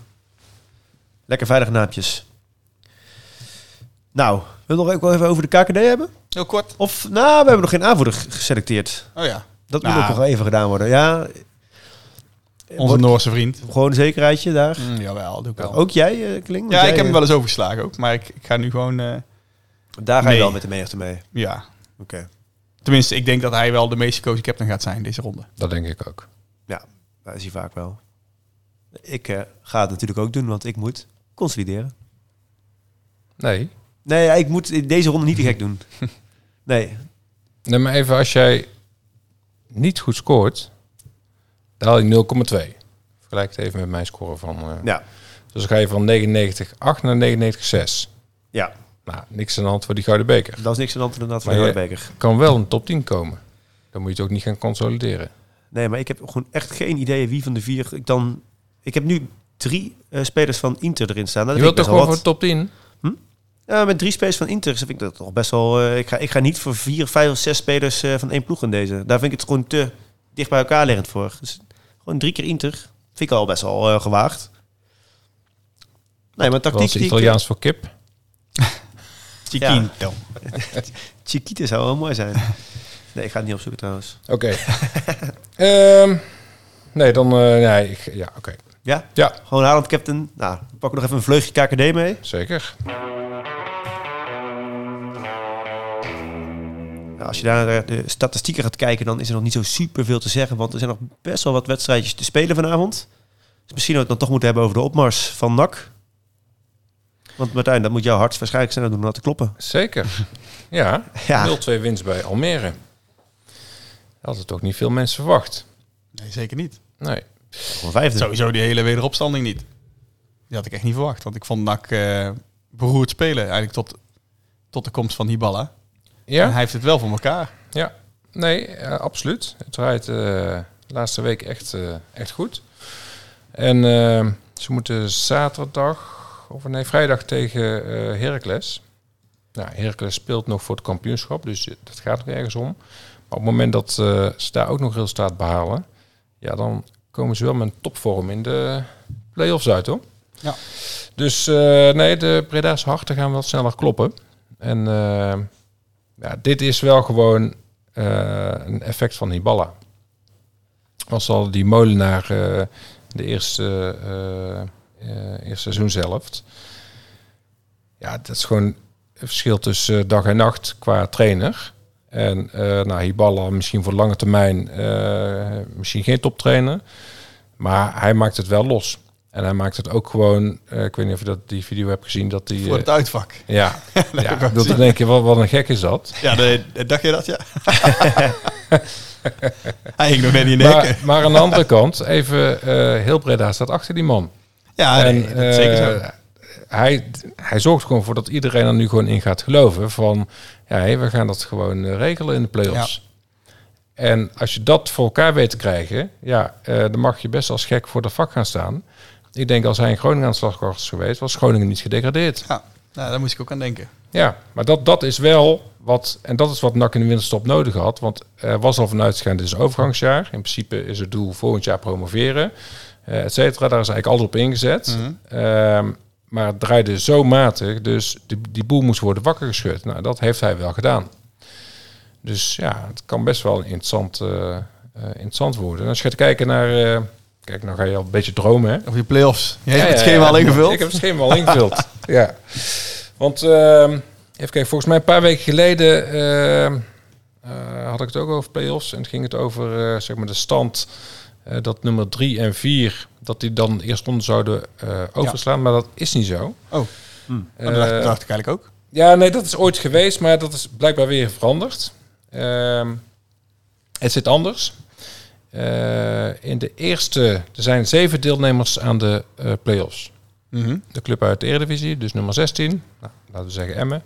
Speaker 1: Lekker veilig naampjes. Nou, wil je nog ook wel even over de KKD hebben?
Speaker 3: Heel kort.
Speaker 1: Of, nou, we hebben nog geen aanvoerder g- geselecteerd.
Speaker 3: Oh ja.
Speaker 1: Dat
Speaker 3: Nou.
Speaker 1: moet ook nog wel even gedaan worden. Ja,
Speaker 3: Onze
Speaker 1: wordt
Speaker 3: Noorse vriend.
Speaker 1: gewoon een zekerheidje daar.
Speaker 3: Mm, jawel, doe ik wel.
Speaker 1: Ook jij, eh Kling? Want
Speaker 3: Ja,
Speaker 1: jij,
Speaker 3: ik heb hem
Speaker 1: eh,
Speaker 3: wel eens overgeslagen ook. Maar ik, ik ga nu gewoon... eh,
Speaker 1: Daar ga je
Speaker 3: Nee.
Speaker 1: wel met de menigte mee.
Speaker 3: ja.
Speaker 1: Oké.
Speaker 3: Tenminste, ik denk dat hij wel de meest gekozen captain gaat zijn deze ronde.
Speaker 2: Dat denk ik ook.
Speaker 1: Dat is hij vaak wel. Ik eh, ga het natuurlijk ook doen, want ik moet consolideren.
Speaker 2: Nee.
Speaker 1: Nee, ja, ik moet in deze ronde niet te gek doen. Nee,
Speaker 2: Nee, maar even als jij niet goed scoort, dan haal je 0,2. Vergelijk het even met mijn score van... eh,
Speaker 1: ja.
Speaker 2: Dus dan ga je van 99,8 naar 99,6.
Speaker 1: Ja,
Speaker 2: Nou, niks aan de hand voor die Gouden Beker.
Speaker 1: dat is niks aan de hand inderdaad van
Speaker 2: Maar
Speaker 1: de
Speaker 2: je-
Speaker 1: beker.
Speaker 2: Kan wel een top 10 komen. Dan moet je het ook niet gaan consolideren.
Speaker 1: Nee, maar ik heb gewoon echt geen idee wie van de vier ik dan... Ik heb nu drie eh, spelers van Inter erin staan. Nou, Dat
Speaker 2: je
Speaker 1: vind
Speaker 2: wilt
Speaker 1: ik best
Speaker 2: toch
Speaker 1: wel
Speaker 2: gewoon
Speaker 1: wat.
Speaker 2: voor top 10?
Speaker 1: Ja, met drie spelers van Inter vind ik dat toch best wel... eh, ik, ga, ik ga niet voor vier, vijf of zes spelers eh, van één ploeg in deze. Daar vind ik het gewoon te dicht bij elkaar liggend voor. Dus gewoon drie keer Inter vind ik al best wel eh, gewaagd. Nee, maar
Speaker 2: Dat
Speaker 1: tactiek...
Speaker 2: is
Speaker 1: die ik-
Speaker 2: Italiaans voor kip.
Speaker 3: Chiquinto.
Speaker 1: Chiquita zou wel mooi zijn. Nee, ik ga het niet opzoeken trouwens.
Speaker 2: Oké. Ehm, nee, dan... eh, nee, ik- ja, oké.
Speaker 1: Ja?
Speaker 2: Ja.
Speaker 1: Gewoon Haaland captain. Nou, dan pak ik nog even een vleugje KKD mee.
Speaker 2: Zeker.
Speaker 1: Nou, als je daar naar de statistieken gaat kijken, dan is er nog niet zo superveel te zeggen. Want er zijn nog best wel wat wedstrijdjes te spelen vanavond. Dus misschien dat we het dan toch moeten hebben over de opmars van NAC. Want Martijn, dat moet jouw hart waarschijnlijk sneller doen om dat te kloppen.
Speaker 2: Zeker. Ja.
Speaker 1: Ja,
Speaker 2: 0-2 winst bij Almere. Dat hadden toch niet veel mensen verwacht.
Speaker 3: Nee, zeker niet.
Speaker 2: Nee.
Speaker 1: gewoon vijfde.
Speaker 3: Sowieso die hele wederopstanding niet. Die had ik echt niet verwacht. Want ik vond NAC eh beroerd spelen eigenlijk tot, tot de komst van Hiballa. En
Speaker 2: Ja?
Speaker 3: hij heeft het wel voor elkaar.
Speaker 2: Ja, nee, eh, absoluut. Het draait eh, de laatste week echt, eh, echt goed. En eh, ze moeten zaterdag, of nee, vrijdag tegen eh Heracles. Nou, Heracles speelt nog voor het kampioenschap, dus dat gaat nog ergens om. Maar op het moment dat eh, ze daar ook nog resultaat behalen, ja, dan komen ze wel met een topvorm in de play-offs uit, hoor.
Speaker 3: Ja.
Speaker 2: Dus eh, nee, de Breda's harten gaan wel sneller kloppen. En eh, ja, dit is wel gewoon eh, een effect van Hiballa. Als al die molenaar eh, de eerste, eh, eh, eerste seizoen zelf. Ja, dat is gewoon een verschil tussen eh, dag en nacht qua trainer. En eh nou, Hiballa misschien voor lange termijn eh, misschien geen toptrainer. Maar hij maakt het wel los. En hij maakt het ook gewoon... eh, ik weet niet of je dat, die video hebt gezien. Dat die,
Speaker 3: Voor
Speaker 2: eh,
Speaker 3: het uitvak.
Speaker 2: ja,
Speaker 3: heb ik
Speaker 2: ja
Speaker 3: wel
Speaker 2: dat dan denk je, wat, wat een gek is dat.
Speaker 3: Ja, de, de- dacht je dat? Ja. hij hing nog net niet in de hekken.
Speaker 2: Maar, maar aan de andere kant, even eh heel Breda staat achter die man.
Speaker 3: Ja, Ah, nee,
Speaker 2: En,
Speaker 3: dat is zeker
Speaker 2: eh,
Speaker 3: zo.
Speaker 2: hij, hij zorgt gewoon voor dat iedereen er nu gewoon in gaat geloven. Van, ja, hé, we gaan dat gewoon eh, regelen in de play-offs. En als je dat voor elkaar weet te krijgen, ja, eh, dan mag je best als gek voor de vak gaan staan. Ik denk als hij in Groningen aan de slag was geweest, was Groningen niet gedegradeerd.
Speaker 3: Ja, nou, daar moest ik ook aan denken.
Speaker 2: Ja, maar dat, dat is wel wat, en dat is wat NAC in de winterstop nodig had. Want er was al vanuit gegaan, dit is een overgangsjaar. In principe is het doel volgend jaar promoveren, eh et cetera. Daar is eigenlijk alles op ingezet. Ehm, maar het draaide zo matig, dus die, die boel moest worden wakker geschud. Nou, dat heeft hij wel gedaan. Dus ja, het kan best wel interessant, eh, eh, interessant worden. En als je gaat kijken naar... eh, kijk, nou ga je al een beetje dromen, hè?
Speaker 3: Of je play-offs. Jij
Speaker 2: Ja,
Speaker 3: hebt het
Speaker 2: ja,
Speaker 3: schema
Speaker 2: ja.
Speaker 3: al ingevuld.
Speaker 2: Ik heb het schema al ingevuld. ja. Want ehm, even kijken, volgens mij een paar weken geleden ehm, eh, had ik het ook over play-offs. En het ging het over eh, zeg maar de stand eh, dat nummer 3 en 4, dat die dan eerst onder zouden eh, overslaan. Maar dat is niet zo.
Speaker 3: Oh,
Speaker 2: Eh,
Speaker 3: dat dacht, dacht ik eigenlijk ook.
Speaker 2: ja, nee, dat is ooit geweest, maar dat is blijkbaar weer veranderd. Ehm, het zit anders. Eh, in de eerste, er zijn zeven deelnemers aan de eh play-offs
Speaker 3: Mhm.
Speaker 2: de club uit de Eredivisie, dus nummer 16. Nou, laten we zeggen Emmen.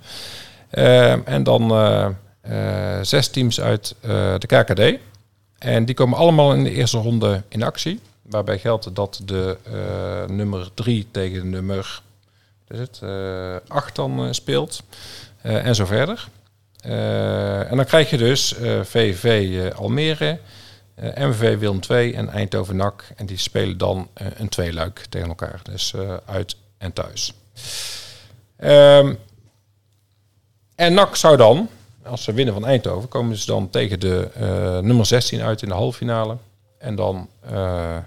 Speaker 2: Ehm, en dan eh, eh, zes teams uit eh, de KKD. En die komen allemaal in de eerste ronde in actie. Waarbij geldt dat de eh, nummer 3 tegen de nummer 8 dan eh, speelt. Eh, en zo verder. Eh, en dan krijg je dus eh, VVV eh, Almere, eh, MV Wilm 2 en Eindhoven NAC. En die spelen dan eh, een tweeluik tegen elkaar. Dus eh, uit en thuis. Ehm, en NAC zou dan, als ze winnen van Eindhoven, komen ze dan tegen de eh, nummer 16 uit in de halve finale. En dan eh,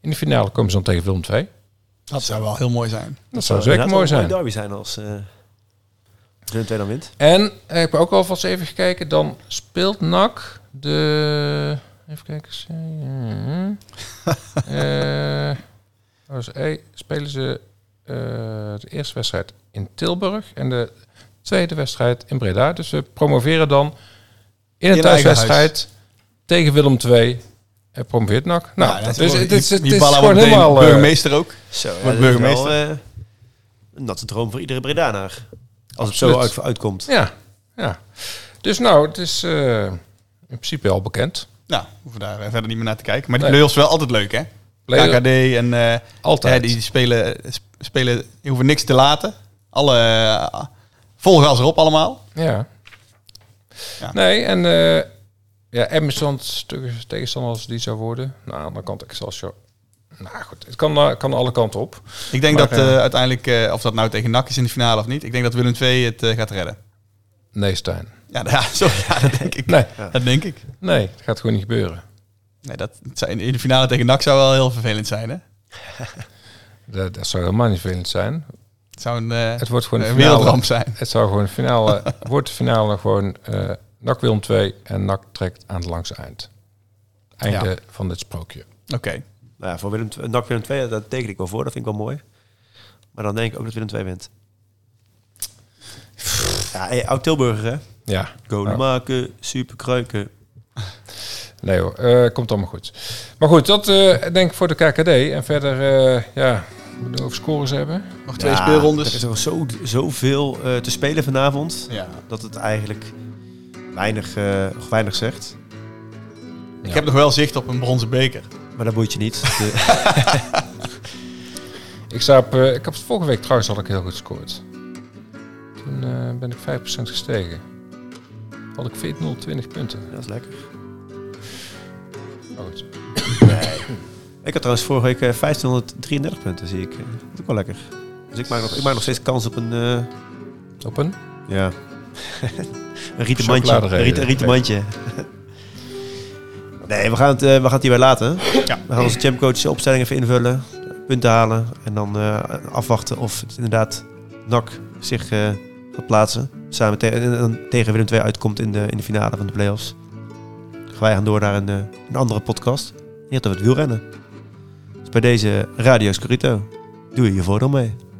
Speaker 2: in de finale komen ze dan tegen Willem 2.
Speaker 3: Dat zou wel heel mooi zijn.
Speaker 2: Dat zou zeker
Speaker 1: inderdaad
Speaker 2: mooi
Speaker 1: wel Nou, een
Speaker 2: zijn.
Speaker 1: mooie derby zijn als eh Willem II dan wint.
Speaker 2: En eh, ik heb ook alvast even gekeken. Dan speelt NAC de... Even kijken. eh, eh, OSE spelen ze eh, de eerste wedstrijd in Tilburg en de tweede wedstrijd in Breda. Dus we promoveren dan in een
Speaker 3: In eigen
Speaker 2: thuiswedstrijd tegen Willem II. En promoveert NAC. Nou,
Speaker 3: Ja, dat
Speaker 2: dus
Speaker 3: wel-
Speaker 2: het is,
Speaker 3: die-
Speaker 2: het
Speaker 3: die
Speaker 2: is
Speaker 3: ballen
Speaker 2: gewoon
Speaker 3: wordt meteen
Speaker 2: helemaal... eh,
Speaker 3: Burgemeester ook.
Speaker 1: Zo, ja,
Speaker 3: Wordt
Speaker 1: dat is wel
Speaker 3: burgemeester.
Speaker 1: eh, een natte droom voor iedere Bredanaar. Als het
Speaker 2: Absoluut.
Speaker 1: zo uit, uitkomt.
Speaker 2: ja, ja. Dus nou, het is eh, in principe al bekend.
Speaker 3: Nou, hoeven daar eh, verder niet meer naar te kijken. Maar die
Speaker 2: Nee.
Speaker 3: play-offs wel altijd leuk, hè?
Speaker 2: Play-
Speaker 3: KKD en eh,
Speaker 2: Altijd.
Speaker 3: eh, die spelen, sp- spelen, die hoeven niks te laten. Alle eh, vol gas erop allemaal.
Speaker 2: Ja.
Speaker 3: Ja.
Speaker 2: Nee, en eh ja, Emerson tegenstander als die zou worden. Nou, aan de andere kant Excelsior. Nou goed, het kan, eh, kan alle kanten op.
Speaker 3: Ik denk
Speaker 2: Maar,
Speaker 3: dat
Speaker 2: eh,
Speaker 3: eh, uiteindelijk, eh, of dat nou tegen NAC is in de finale of niet, ik denk dat Willem II het eh, gaat redden.
Speaker 2: Nee, Stijn.
Speaker 3: Ja, ja, zo, ja, dat denk ik.
Speaker 2: Nee,
Speaker 3: Dat denk ik.
Speaker 2: nee, het gaat gewoon niet gebeuren.
Speaker 3: Nee, dat, het zou- in de finale tegen NAC zou wel heel vervelend zijn, hè?
Speaker 2: Dat, dat zou helemaal niet vervelend zijn.
Speaker 3: Het zou een, eh,
Speaker 2: Het wordt gewoon
Speaker 3: een
Speaker 2: een finale.
Speaker 3: wereldramp zijn.
Speaker 2: Het zou gewoon een finale. wordt de finale gewoon eh NAC Willem 2 en NAC trekt aan het langste eind. Einde
Speaker 3: Ja.
Speaker 2: van dit sprookje.
Speaker 3: Oké.
Speaker 1: Nou ja, voor Willem, II- NAC Willem II, dat teken ik wel voor. Dat vind ik wel mooi. Maar dan denk ik ook dat Willem II wint. Ja, hey, Oud-Tilburger, hè?
Speaker 2: Ja.
Speaker 1: Goal
Speaker 2: Nou.
Speaker 1: maken, super kruiken.
Speaker 2: Nee hoor, eh, komt allemaal goed. Maar goed, dat eh, denk ik voor de KKD. En verder, eh, ja, moeten we over scores hebben.
Speaker 3: Nog twee
Speaker 1: Ja, Er
Speaker 3: speelrondes.
Speaker 1: is nog zo, zoveel eh, te spelen vanavond.
Speaker 3: Ja.
Speaker 1: Dat het eigenlijk weinig, eh, nog weinig zegt.
Speaker 3: Ik
Speaker 2: Ja.
Speaker 3: heb nog wel zicht op een bronzen beker.
Speaker 1: Maar dat boeit je niet. De-
Speaker 2: Ik, sta op, eh, ik heb vorige week trouwens had ik heel goed gescoord. Toen eh, ben ik 5% gestegen. Had ik 1420 punten.
Speaker 1: dat is lekker.
Speaker 2: Maar goed.
Speaker 1: Ik had trouwens vorige week eh, 1533 punten, zie ik. Eh, Dat is ook wel lekker. Dus ik maak nog, ik maak nog steeds kans op een... eh,
Speaker 2: Op een?
Speaker 1: ja. een rieten mandje. Een
Speaker 2: Chocoladereden.
Speaker 1: rieten, een rieten mandje. nee, we gaan, het, eh, we gaan het hierbij laten.
Speaker 3: Ja.
Speaker 1: We gaan onze champcoach opstelling even invullen. Punten halen. En dan eh, afwachten of het inderdaad NAC zich eh, gaat plaatsen. Samen te- en dan tegen Willem II uitkomt in de, in de finale van de playoffs. Dan Gaan wij gaan door naar een, eh, een andere podcast. Hier over het wielrennen. Dus bij deze Radio Scorito. Doe je je voordeel mee.